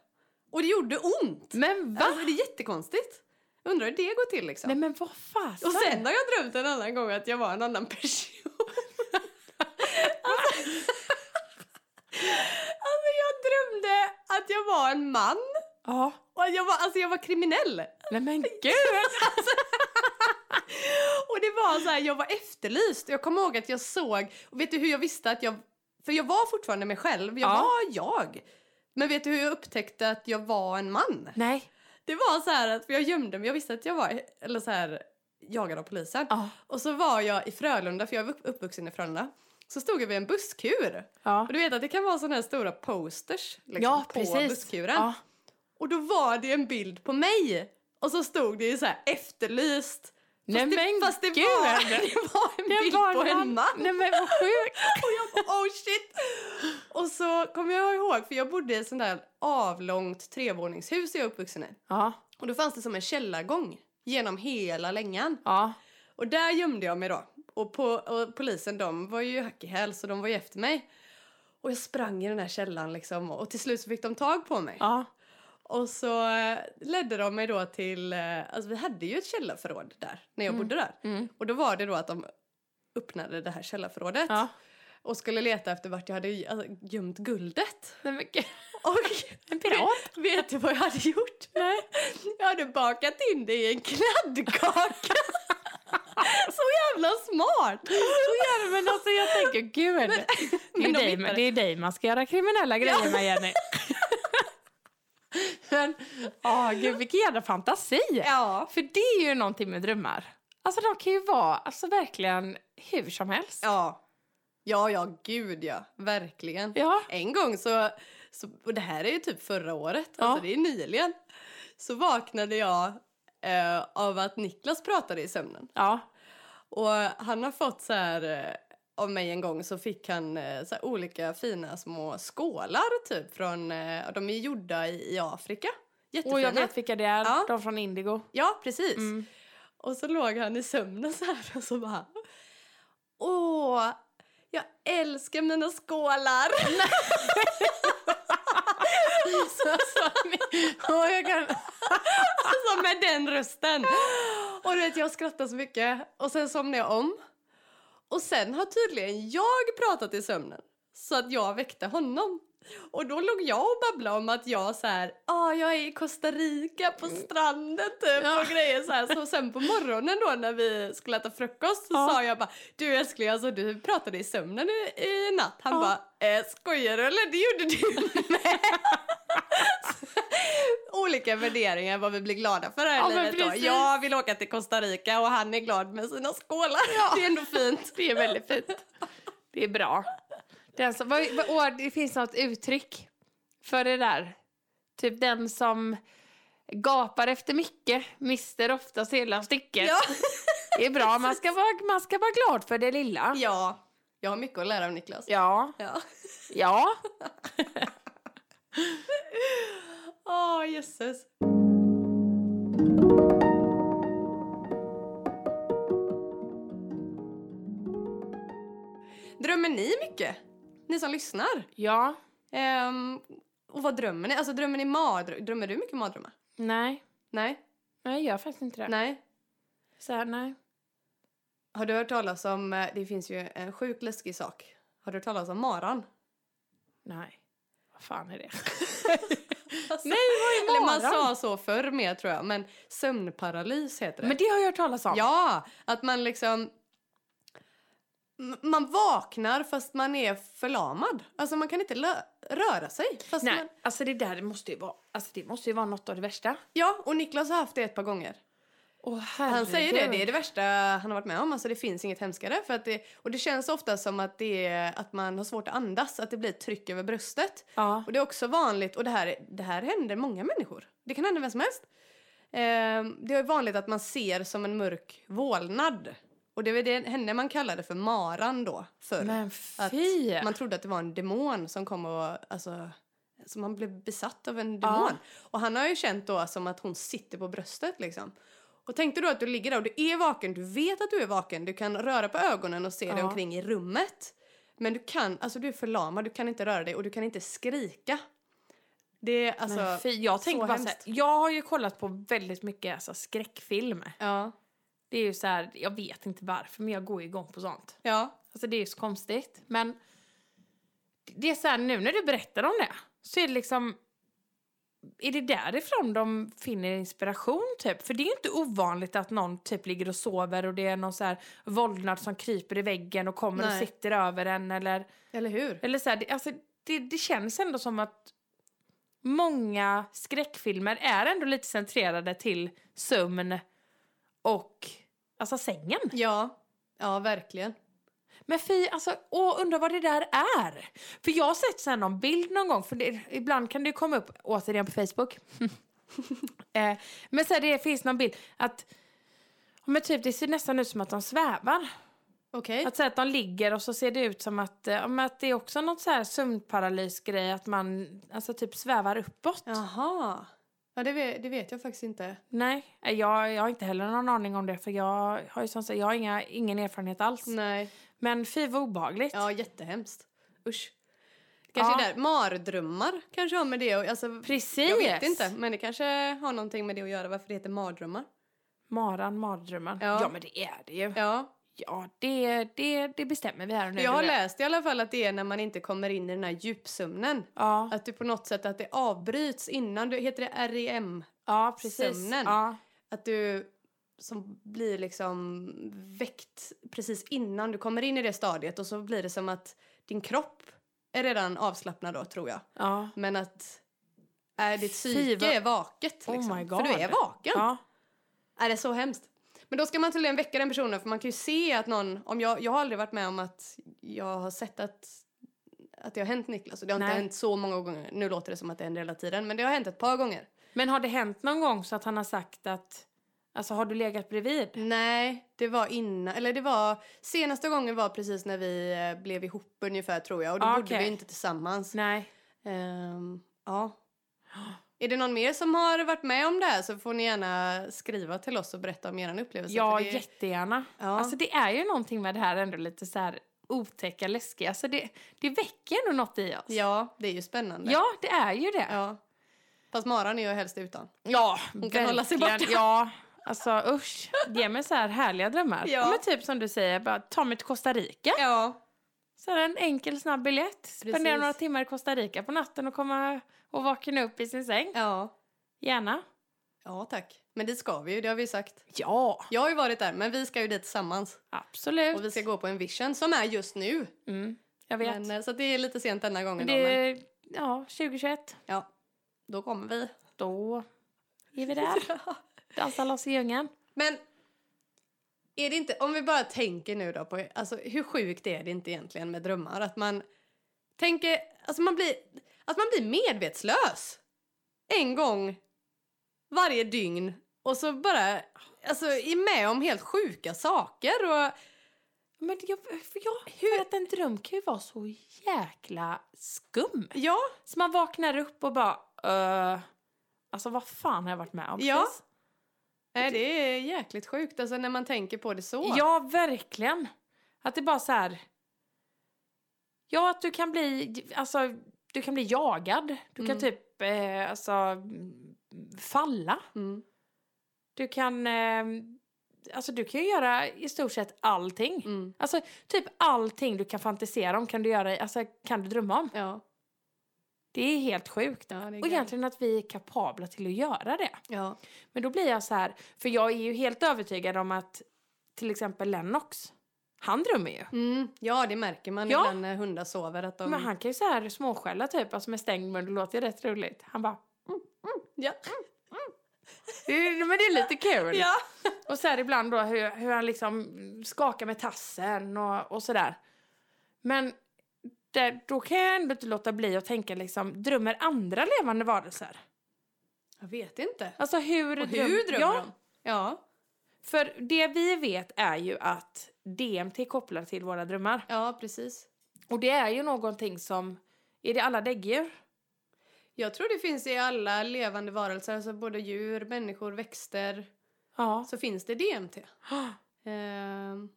Speaker 2: Och det gjorde ont!
Speaker 1: Men va?
Speaker 2: Alltså, det är jättekonstigt. Jag undrar hur det går till liksom.
Speaker 1: Nej men vad fasen?
Speaker 2: och sen har jag drömt en annan gång att jag var en annan person. alltså, alltså jag drömde att jag var en man
Speaker 1: Ja.
Speaker 2: och att jag var, alltså, jag var kriminell.
Speaker 1: Nej men gud.
Speaker 2: Alltså. Och det var så här, jag var efterlyst. Jag kommer ihåg att jag såg, och vet du hur jag visste att jag, för jag var fortfarande mig själv, jag
Speaker 1: Ja.
Speaker 2: var jag. Men vet du hur jag upptäckte att jag var en man?
Speaker 1: Nej.
Speaker 2: Det var så här att för jag gömde mig, jag visste att jag var, eller så här, jagad av polisen.
Speaker 1: Ja.
Speaker 2: Och så var jag i Frölunda, för jag var upp- uppvuxen i Frölunda. Så stod jag vid en busskur.
Speaker 1: Ja.
Speaker 2: Och du vet att det kan vara sådana här stora posters liksom,
Speaker 1: ja
Speaker 2: på
Speaker 1: precis.
Speaker 2: busskuren.
Speaker 1: Ja.
Speaker 2: Och då var det en bild på mig. Och så stod det ju så här efterlyst. Fast
Speaker 1: Nej
Speaker 2: det,
Speaker 1: men
Speaker 2: fast det
Speaker 1: gud.
Speaker 2: var, det var en
Speaker 1: Det
Speaker 2: bild
Speaker 1: var
Speaker 2: på en
Speaker 1: man-
Speaker 2: man.
Speaker 1: Nej men vad sjukt.
Speaker 2: Och jag bara, oh shit! Och så kommer jag ihåg, för jag bodde i ett sånt där avlångt trevåningshus jag är uppvuxen i.
Speaker 1: Ja.
Speaker 2: Och då fanns det som en källargång genom hela längan.
Speaker 1: Ja.
Speaker 2: Och där gömde jag mig då. Och, på, och polisen de var ju hack i häl så de var ju efter mig. Och jag sprang i den här källan liksom och till slut så fick de tag på mig.
Speaker 1: Ja.
Speaker 2: Och så eh, ledde de mig då till, eh, alltså vi hade ju ett källarförråd där när jag bodde där.
Speaker 1: Mm.
Speaker 2: Och då var det då att de öppnade det här källarförrådet
Speaker 1: Ja.
Speaker 2: och skulle leta efter vart jag hade gö- alltså, gömt guldet.
Speaker 1: Nej men gud.
Speaker 2: Och
Speaker 1: En pirat.
Speaker 2: vet du vad jag hade gjort? Jag hade bakat in det i en kladdkaka. Så jävla smart!
Speaker 1: Så gör det, men alltså jag tänker gud. det, är
Speaker 2: men de
Speaker 1: dig,
Speaker 2: hittade-
Speaker 1: det är dig man ska göra kriminella grejer med Jenny. men, ja gud vilken jävla fantasi.
Speaker 2: Ja.
Speaker 1: För det är ju någonting med drömmar. Alltså de kan ju vara, alltså verkligen hur som helst.
Speaker 2: Ja. Ja, ja, gud ja. Verkligen.
Speaker 1: Ja.
Speaker 2: En gång så, så, och det här är ju typ förra året, alltså
Speaker 1: Ja.
Speaker 2: det är nyligen, så vaknade jag eh, av att Niklas pratade i sömnen.
Speaker 1: Ja.
Speaker 2: Och han har fått så här... eh, Av mig en gång så fick han eh, så här olika fina små skålar typ från... eh, och De är gjorda i, i Afrika. Jättefina.
Speaker 1: Och jag vet vilka det är.
Speaker 2: Ja.
Speaker 1: De från Indigo.
Speaker 2: Ja, precis.
Speaker 1: Mm.
Speaker 2: Och så låg han i sömnen så här och så bara... Åh, jag älskar mina skålar! så, så,
Speaker 1: Och jag kan...
Speaker 2: alltså med den rösten. Och du vet, jag skrattade så mycket. Och sen somnade jag om. Och sen har tydligen jag pratat i sömnen. Så att jag väckte honom. Och då låg jag och babblade om att jag så här, ah, jag är i Costa Rica på stranden typ och grejer så här. Så sen på morgonen då när vi skulle äta frukost så
Speaker 1: Ja.
Speaker 2: sa jag bara, du älskling alltså du pratade i sömnen i, i natt. Han
Speaker 1: Ja.
Speaker 2: bara, eh, skojar du eller? Det gjorde du med. Olika värderingar vad vi blir glada för här i
Speaker 1: Ja, men
Speaker 2: livet då.
Speaker 1: precis.
Speaker 2: Jag vill åka till Costa Rica och han är glad med sina skålar. Det är ändå fint.
Speaker 1: Det är väldigt fint. Det är bra. Den som, vad, vad, åh, det finns något uttryck för det där. Typ den som gapar efter mycket mister oftast hela stycket.
Speaker 2: Ja.
Speaker 1: Det är bra. Man ska, vara, man ska vara glad för det lilla.
Speaker 2: ja, jag har mycket att lära av Niklas.
Speaker 1: Ja.
Speaker 2: Ja.
Speaker 1: Ja.
Speaker 2: Åh, jösses. Drömmer ni mycket? Ni som lyssnar.
Speaker 1: Ja.
Speaker 2: Ehm, och vad drömmer ni? Alltså drömmer ni mardrömmar? Drömmer du mycket mardrömmar?
Speaker 1: Nej.
Speaker 2: Nej?
Speaker 1: Nej, jag gör faktiskt inte det.
Speaker 2: Nej?
Speaker 1: Så här, nej.
Speaker 2: Har du hört talas om, eh, det finns ju en sjukt läskig sak. Har du hört talas om maran?
Speaker 1: Nej. Vad fan är det?
Speaker 2: Alltså,
Speaker 1: Nej, vad är
Speaker 2: Eller man
Speaker 1: maran?
Speaker 2: sa så förr mer tror jag, men sömnparalys heter det.
Speaker 1: Men det har jag hört talas om.
Speaker 2: Ja, att man liksom... M- Man vaknar fast man är förlamad. Alltså man kan inte lö- röra sig. Fast
Speaker 1: Nej,
Speaker 2: Man,
Speaker 1: alltså det där det måste ju vara, alltså det måste ju vara något av det värsta.
Speaker 2: ja, och Niklas har haft det ett par gånger.
Speaker 1: Åh,
Speaker 2: Han säger det,
Speaker 1: herregud.
Speaker 2: det är det värsta han har varit med om. Alltså det finns inget hemskare. För att det, och det känns ofta som att, det är, att man har svårt att andas, att det blir ett tryck över bröstet.
Speaker 1: Ja.
Speaker 2: Och det är också vanligt, och det här, det här händer många människor. Det kan hända vem som helst. Ehm, det är vanligt att man ser som en mörk vålnad. Och det var det henne man kallade för maran då, förr.
Speaker 1: Men
Speaker 2: att
Speaker 1: fy!
Speaker 2: man trodde att det var en demon som kom och, alltså, som han blev besatt av en
Speaker 1: Ja.
Speaker 2: demon. Och han har ju känt då som att hon sitter på bröstet liksom. Och tänkte då att du ligger där och du är vaken, du vet att du är vaken, du kan röra på ögonen och se dig
Speaker 1: Ja.
Speaker 2: omkring i rummet. Men du kan, alltså du är förlamad, du kan inte röra dig och du kan inte skrika. Det är alltså...
Speaker 1: men fy, jag tänker
Speaker 2: så
Speaker 1: bara så här,
Speaker 2: hemskt.
Speaker 1: jag har ju kollat på väldigt mycket alltså, skräckfilm.
Speaker 2: Ja.
Speaker 1: Det är ju så här, jag vet inte varför men jag går ju igång på sånt.
Speaker 2: Ja.
Speaker 1: Alltså det är ju så konstigt. Men det är så här, nu när du berättar om det så är det liksom... Är det därifrån de finner inspiration typ? För det är ju inte ovanligt att någon typ ligger och sover och det är någon så här våldnad som kryper i väggen och kommer
Speaker 2: Nej.
Speaker 1: och sitter över en eller...
Speaker 2: Eller hur?
Speaker 1: Eller så här, det, alltså, det, det känns ändå som att många skräckfilmer är ändå lite centrerade till sömn och alltså sängen.
Speaker 2: Ja. Ja, verkligen.
Speaker 1: Men fy, alltså, åh, undrar vad det där är. För jag har sett så här någon bild någon gång, för det, ibland kan det ju komma upp återigen på Facebook. eh, men så här, det finns någon bild att men typ, det ser nästan ut som att de svävar.
Speaker 2: Okej.
Speaker 1: Att, så här, att de ligger och så ser det ut som att, eh, ja, men att det är också något så här sömnparalysgrej, att man alltså, typ svävar uppåt.
Speaker 2: Jaha. Ja, det vet, det vet jag faktiskt inte.
Speaker 1: Nej, eh, jag, jag har inte heller någon aning om det för jag har ju som sagt, jag har inga, ingen erfarenhet alls.
Speaker 2: Nej.
Speaker 1: Men fy vad obehagligt.
Speaker 2: Ja, jättehemskt. Usch. Kanske
Speaker 1: Ja.
Speaker 2: där. Mardrömmar kanske har med det och, alltså,
Speaker 1: Precis!
Speaker 2: Jag vet inte, men det kanske har någonting med det att göra varför det heter mardrömmar.
Speaker 1: Maran, mardrömmen.
Speaker 2: Ja.
Speaker 1: Ja. men det är det ju. Ja,
Speaker 2: Ja.
Speaker 1: det, det, det bestämmer vi här och nu.
Speaker 2: Jag
Speaker 1: du
Speaker 2: har
Speaker 1: vet.
Speaker 2: läst i alla fall att det är när man inte kommer in i den här djupsömnen.
Speaker 1: Ja,
Speaker 2: Att du på något sätt att det avbryts innan du, heter det REM?
Speaker 1: ja precis.
Speaker 2: sömnen.
Speaker 1: Ja.
Speaker 2: Att du som blir liksom väckt precis innan du kommer in i det stadiet och så blir det som att din kropp är redan avslappnad då tror jag.
Speaker 1: Ja.
Speaker 2: Men att är ditt
Speaker 1: Fy,
Speaker 2: psyke
Speaker 1: vad-
Speaker 2: är vaket
Speaker 1: Oh
Speaker 2: liksom.
Speaker 1: my
Speaker 2: För du
Speaker 1: God.
Speaker 2: är vaken.
Speaker 1: ja.
Speaker 2: Är det är så hemskt? Men då ska man tydligen väcka den personen för man kan ju se att någon, om jag, jag har aldrig varit med om att jag har sett att, att det har hänt Niklas och det har inte
Speaker 1: Nej.
Speaker 2: hänt så många gånger. Nu låter det som att det händer hela tiden men det har hänt ett par gånger.
Speaker 1: Men har det hänt någon gång så att han har sagt att Alltså har du legat bredvid?
Speaker 2: Nej, det var innan. Eller det var, senaste gången var precis när vi eh, blev ihop ungefär tror jag. Och då
Speaker 1: Ah,
Speaker 2: bodde vi
Speaker 1: okej.
Speaker 2: inte tillsammans.
Speaker 1: Nej.
Speaker 2: Ehm, ja. Är det någon mer som har varit med om det här så får ni gärna skriva till oss och berätta om er upplevelse.
Speaker 1: Ja,
Speaker 2: Alltså, för det,
Speaker 1: jättegärna.
Speaker 2: ja.
Speaker 1: Alltså det är ju någonting med det här ändå lite så här otäcka, läskiga. Alltså det, det väcker ändå något i oss.
Speaker 2: ja, det är ju spännande.
Speaker 1: Ja, det är ju det.
Speaker 2: Ja. Fast Maran är ju helst utan.
Speaker 1: Ja,
Speaker 2: Hon kan hålla sig
Speaker 1: verkligen.
Speaker 2: borta.
Speaker 1: Ja, alltså usch. Ge mig så här härliga drömmar.
Speaker 2: Ja.
Speaker 1: Men typ som du säger, bara ta mig till Costa Rica.
Speaker 2: Ja,
Speaker 1: Så här en enkel snabb biljett. Spendera
Speaker 2: Precis.
Speaker 1: några timmar i Costa Rica på natten och komma och vakna upp i sin säng.
Speaker 2: ja.
Speaker 1: Gärna.
Speaker 2: Ja, tack. Men dit ska vi ju, det har vi ju sagt.
Speaker 1: Ja,
Speaker 2: Jag har ju varit där, men vi ska ju dit tillsammans.
Speaker 1: absolut.
Speaker 2: Och vi ska gå på en vision som är just nu.
Speaker 1: Mm, jag vet.
Speaker 2: Men,
Speaker 1: Men,
Speaker 2: eh, så att det är lite sent denna gången.
Speaker 1: det
Speaker 2: då, men,
Speaker 1: är, ja, 2021.
Speaker 2: ja, då kommer vi.
Speaker 1: Då är vi där. Dansa loss i djungeln.
Speaker 2: Men är det inte, om vi bara tänker nu då på alltså, hur sjukt är det inte egentligen med drömmar? Att man tänker, alltså man blir, att man blir medvetslös en gång varje dygn och så bara, alltså är med om helt sjuka saker och
Speaker 1: Men jag, för jag hur att en dröm kan ju vara så jäkla skum.
Speaker 2: ja,
Speaker 1: Så man vaknar upp och bara... Uh, alltså, vad fan har jag varit med om?
Speaker 2: Ja.
Speaker 1: precis?
Speaker 2: nej, det är jäkligt sjukt alltså när man tänker på det så.
Speaker 1: ja, verkligen. Att det bara så här... Ja, att du kan bli... Alltså, du kan bli jagad. Du kan
Speaker 2: Mm.
Speaker 1: typ eh, alltså, mm, falla.
Speaker 2: Mm.
Speaker 1: Du kan... Eh, alltså, du kan ju göra i stort sett allting.
Speaker 2: Mm.
Speaker 1: Alltså, typ allting du kan fantisera om kan du göra, i- alltså, kan du drömma om.
Speaker 2: Ja,
Speaker 1: Det är helt sjukt.
Speaker 2: ja, det är
Speaker 1: Och egentligen att vi är kapabla till att göra det.
Speaker 2: ja.
Speaker 1: Men då blir jag så här, för jag är ju helt övertygad om att till exempel Lennox, han drömmer ju.
Speaker 2: Mm. ja, det märker man
Speaker 1: Ja.
Speaker 2: ibland när hundar sover att de...
Speaker 1: Men han kan ju så här småskälla typ, alltså med stängd mun, det låter ju rätt roligt. Han bara,
Speaker 2: Ja.
Speaker 1: det är- men det är lite kul.
Speaker 2: ja.
Speaker 1: Och så här ibland då hur, hur han liksom skakar med tassen och, och sådär. Men det, då kan jag ändå inte låta bli att tänka liksom, drömmer andra levande varelser?
Speaker 2: Jag vet inte.
Speaker 1: Alltså hur,
Speaker 2: Och hur drömmer
Speaker 1: ja,
Speaker 2: de? Ja.
Speaker 1: För det vi vet är ju att DMT kopplar till våra drömmar.
Speaker 2: ja, precis.
Speaker 1: Och det är ju någonting som... Är det alla däggdjur?
Speaker 2: Jag tror det finns i alla levande varelser, alltså både djur, människor, växter,
Speaker 1: Ja.
Speaker 2: så finns det DMT. Ehm,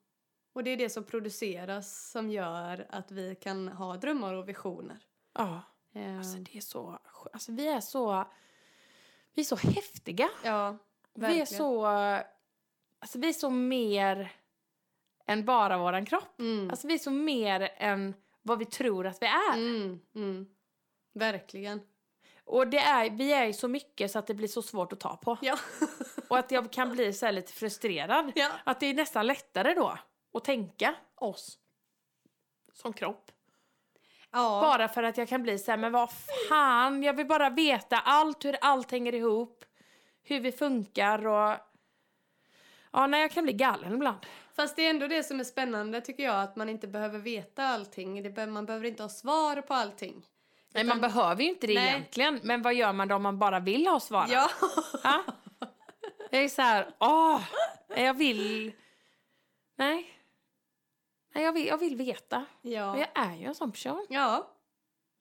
Speaker 2: och det är det som produceras som gör att vi kan ha drömmar och visioner.
Speaker 1: Ja.
Speaker 2: Ehm,
Speaker 1: Alltså det är så... skö- Alltså vi är så... Vi är så häftiga.
Speaker 2: ja,
Speaker 1: Vi är
Speaker 2: verkligen.
Speaker 1: så... Alltså vi är så mer än bara våran kropp.
Speaker 2: Mm.
Speaker 1: Alltså vi är så mer än vad vi tror att vi är.
Speaker 2: mm, mm. Verkligen.
Speaker 1: Och det är, vi är ju så mycket så att det blir så svårt att ta på.
Speaker 2: Ja.
Speaker 1: Och att jag kan bli så här lite frustrerad.
Speaker 2: ja.
Speaker 1: Att det är nästan lättare då att tänka oss som kropp.
Speaker 2: ja.
Speaker 1: Bara för att jag kan bli så här, men vad fan, jag vill bara veta allt, hur allt hänger ihop, hur vi funkar och... Ja, nej, jag kan bli galen ibland.
Speaker 2: Fast det är ändå det som är spännande tycker jag, att man inte behöver veta allting. Det be- man behöver inte ha svar på allting.
Speaker 1: Nej, man behöver ju inte det
Speaker 2: Nej.
Speaker 1: egentligen, men vad gör man då om man bara vill ha svaren?
Speaker 2: Ja.
Speaker 1: Ja. Jag är så här, åh, nej, jag vill... Nej. Nej, jag vill, jag vill veta.
Speaker 2: ja.
Speaker 1: Men jag är ju en sån person.
Speaker 2: Ja.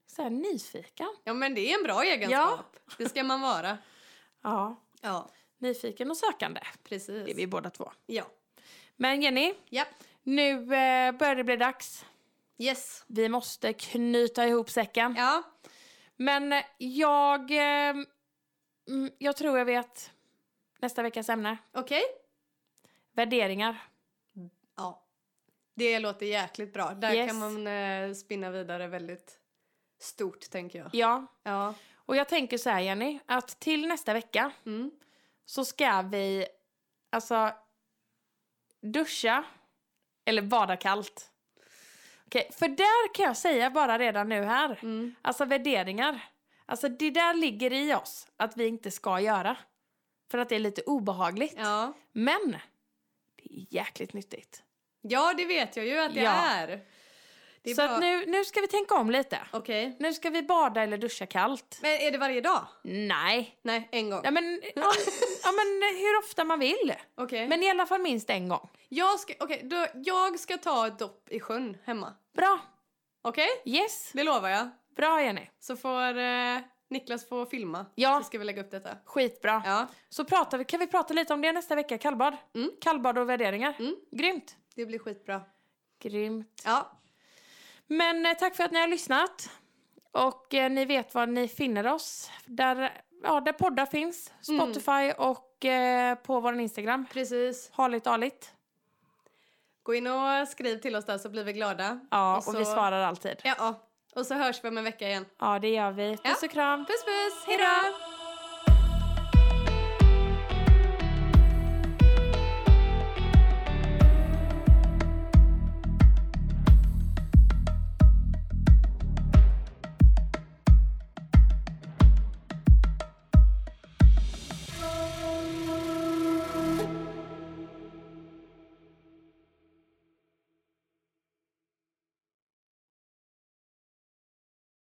Speaker 1: Så här nyfiken.
Speaker 2: Ja, men det är en bra egenskap. Det ska man vara.
Speaker 1: Ja.
Speaker 2: Ja,
Speaker 1: Nyfiken och sökande.
Speaker 2: precis.
Speaker 1: Det är vi båda två.
Speaker 2: Ja.
Speaker 1: Men Jenny,
Speaker 2: ja.
Speaker 1: nu eh, börjar det bli dags.
Speaker 2: Yes.
Speaker 1: Vi måste knyta ihop säcken.
Speaker 2: Ja.
Speaker 1: Men eh, jag... Eh, mm, jag tror jag vet nästa veckas ämne.
Speaker 2: Okej.
Speaker 1: Värderingar.
Speaker 2: Ja. Det låter jäkligt bra. Där
Speaker 1: Yes.
Speaker 2: kan man eh, spinna vidare väldigt stort, tänker jag.
Speaker 1: Ja.
Speaker 2: Ja.
Speaker 1: Och jag tänker så här, Jenny, att till nästa vecka
Speaker 2: Mm.
Speaker 1: så ska vi alltså duscha eller bada kallt. Okej, för där kan jag säga bara redan nu här.
Speaker 2: Mm.
Speaker 1: Alltså värderingar. Alltså det där ligger i oss att vi inte ska göra. För att det är lite obehagligt.
Speaker 2: Ja.
Speaker 1: Men det är jäkligt nyttigt.
Speaker 2: ja, det vet jag ju att det
Speaker 1: Ja.
Speaker 2: är. Det är
Speaker 1: Så
Speaker 2: bara-
Speaker 1: att nu, nu ska vi tänka om lite.
Speaker 2: Okej.
Speaker 1: Nu ska vi bada eller duscha kallt.
Speaker 2: Men är det varje dag?
Speaker 1: Nej.
Speaker 2: Nej, en gång.
Speaker 1: Ja men, ja, ja, men hur ofta man vill.
Speaker 2: Okej.
Speaker 1: Men i alla fall minst en gång.
Speaker 2: Jag ska, okej, då, jag ska ta ett dopp i sjön hemma.
Speaker 1: Bra.
Speaker 2: Okej?
Speaker 1: Yes.
Speaker 2: Det lovar jag.
Speaker 1: Bra Jenny.
Speaker 2: Så får eh, Niklas få filma.
Speaker 1: Ja.
Speaker 2: Så ska vi lägga upp detta.
Speaker 1: Skitbra.
Speaker 2: Ja,
Speaker 1: Så pratar vi, kan vi prata lite om det nästa vecka? Kallbad.
Speaker 2: Mm.
Speaker 1: Kallbad och värderingar.
Speaker 2: Mm.
Speaker 1: Grymt.
Speaker 2: det blir skitbra.
Speaker 1: Grymt.
Speaker 2: Ja,
Speaker 1: Men eh, tack för att ni har lyssnat. Och eh, ni vet var ni finner oss. Där, ja, där poddar finns.
Speaker 2: Mm.
Speaker 1: Spotify och eh, på vår Instagram.
Speaker 2: precis.
Speaker 1: Harligt aligt.
Speaker 2: Gå in och skriv till oss där så blir vi glada.
Speaker 1: Ja, och,
Speaker 2: så-
Speaker 1: vi svarar alltid.
Speaker 2: Ja, och så hörs vi om en vecka igen.
Speaker 1: Ja, det gör vi. Puss och kram.
Speaker 2: Puss puss, hejdå!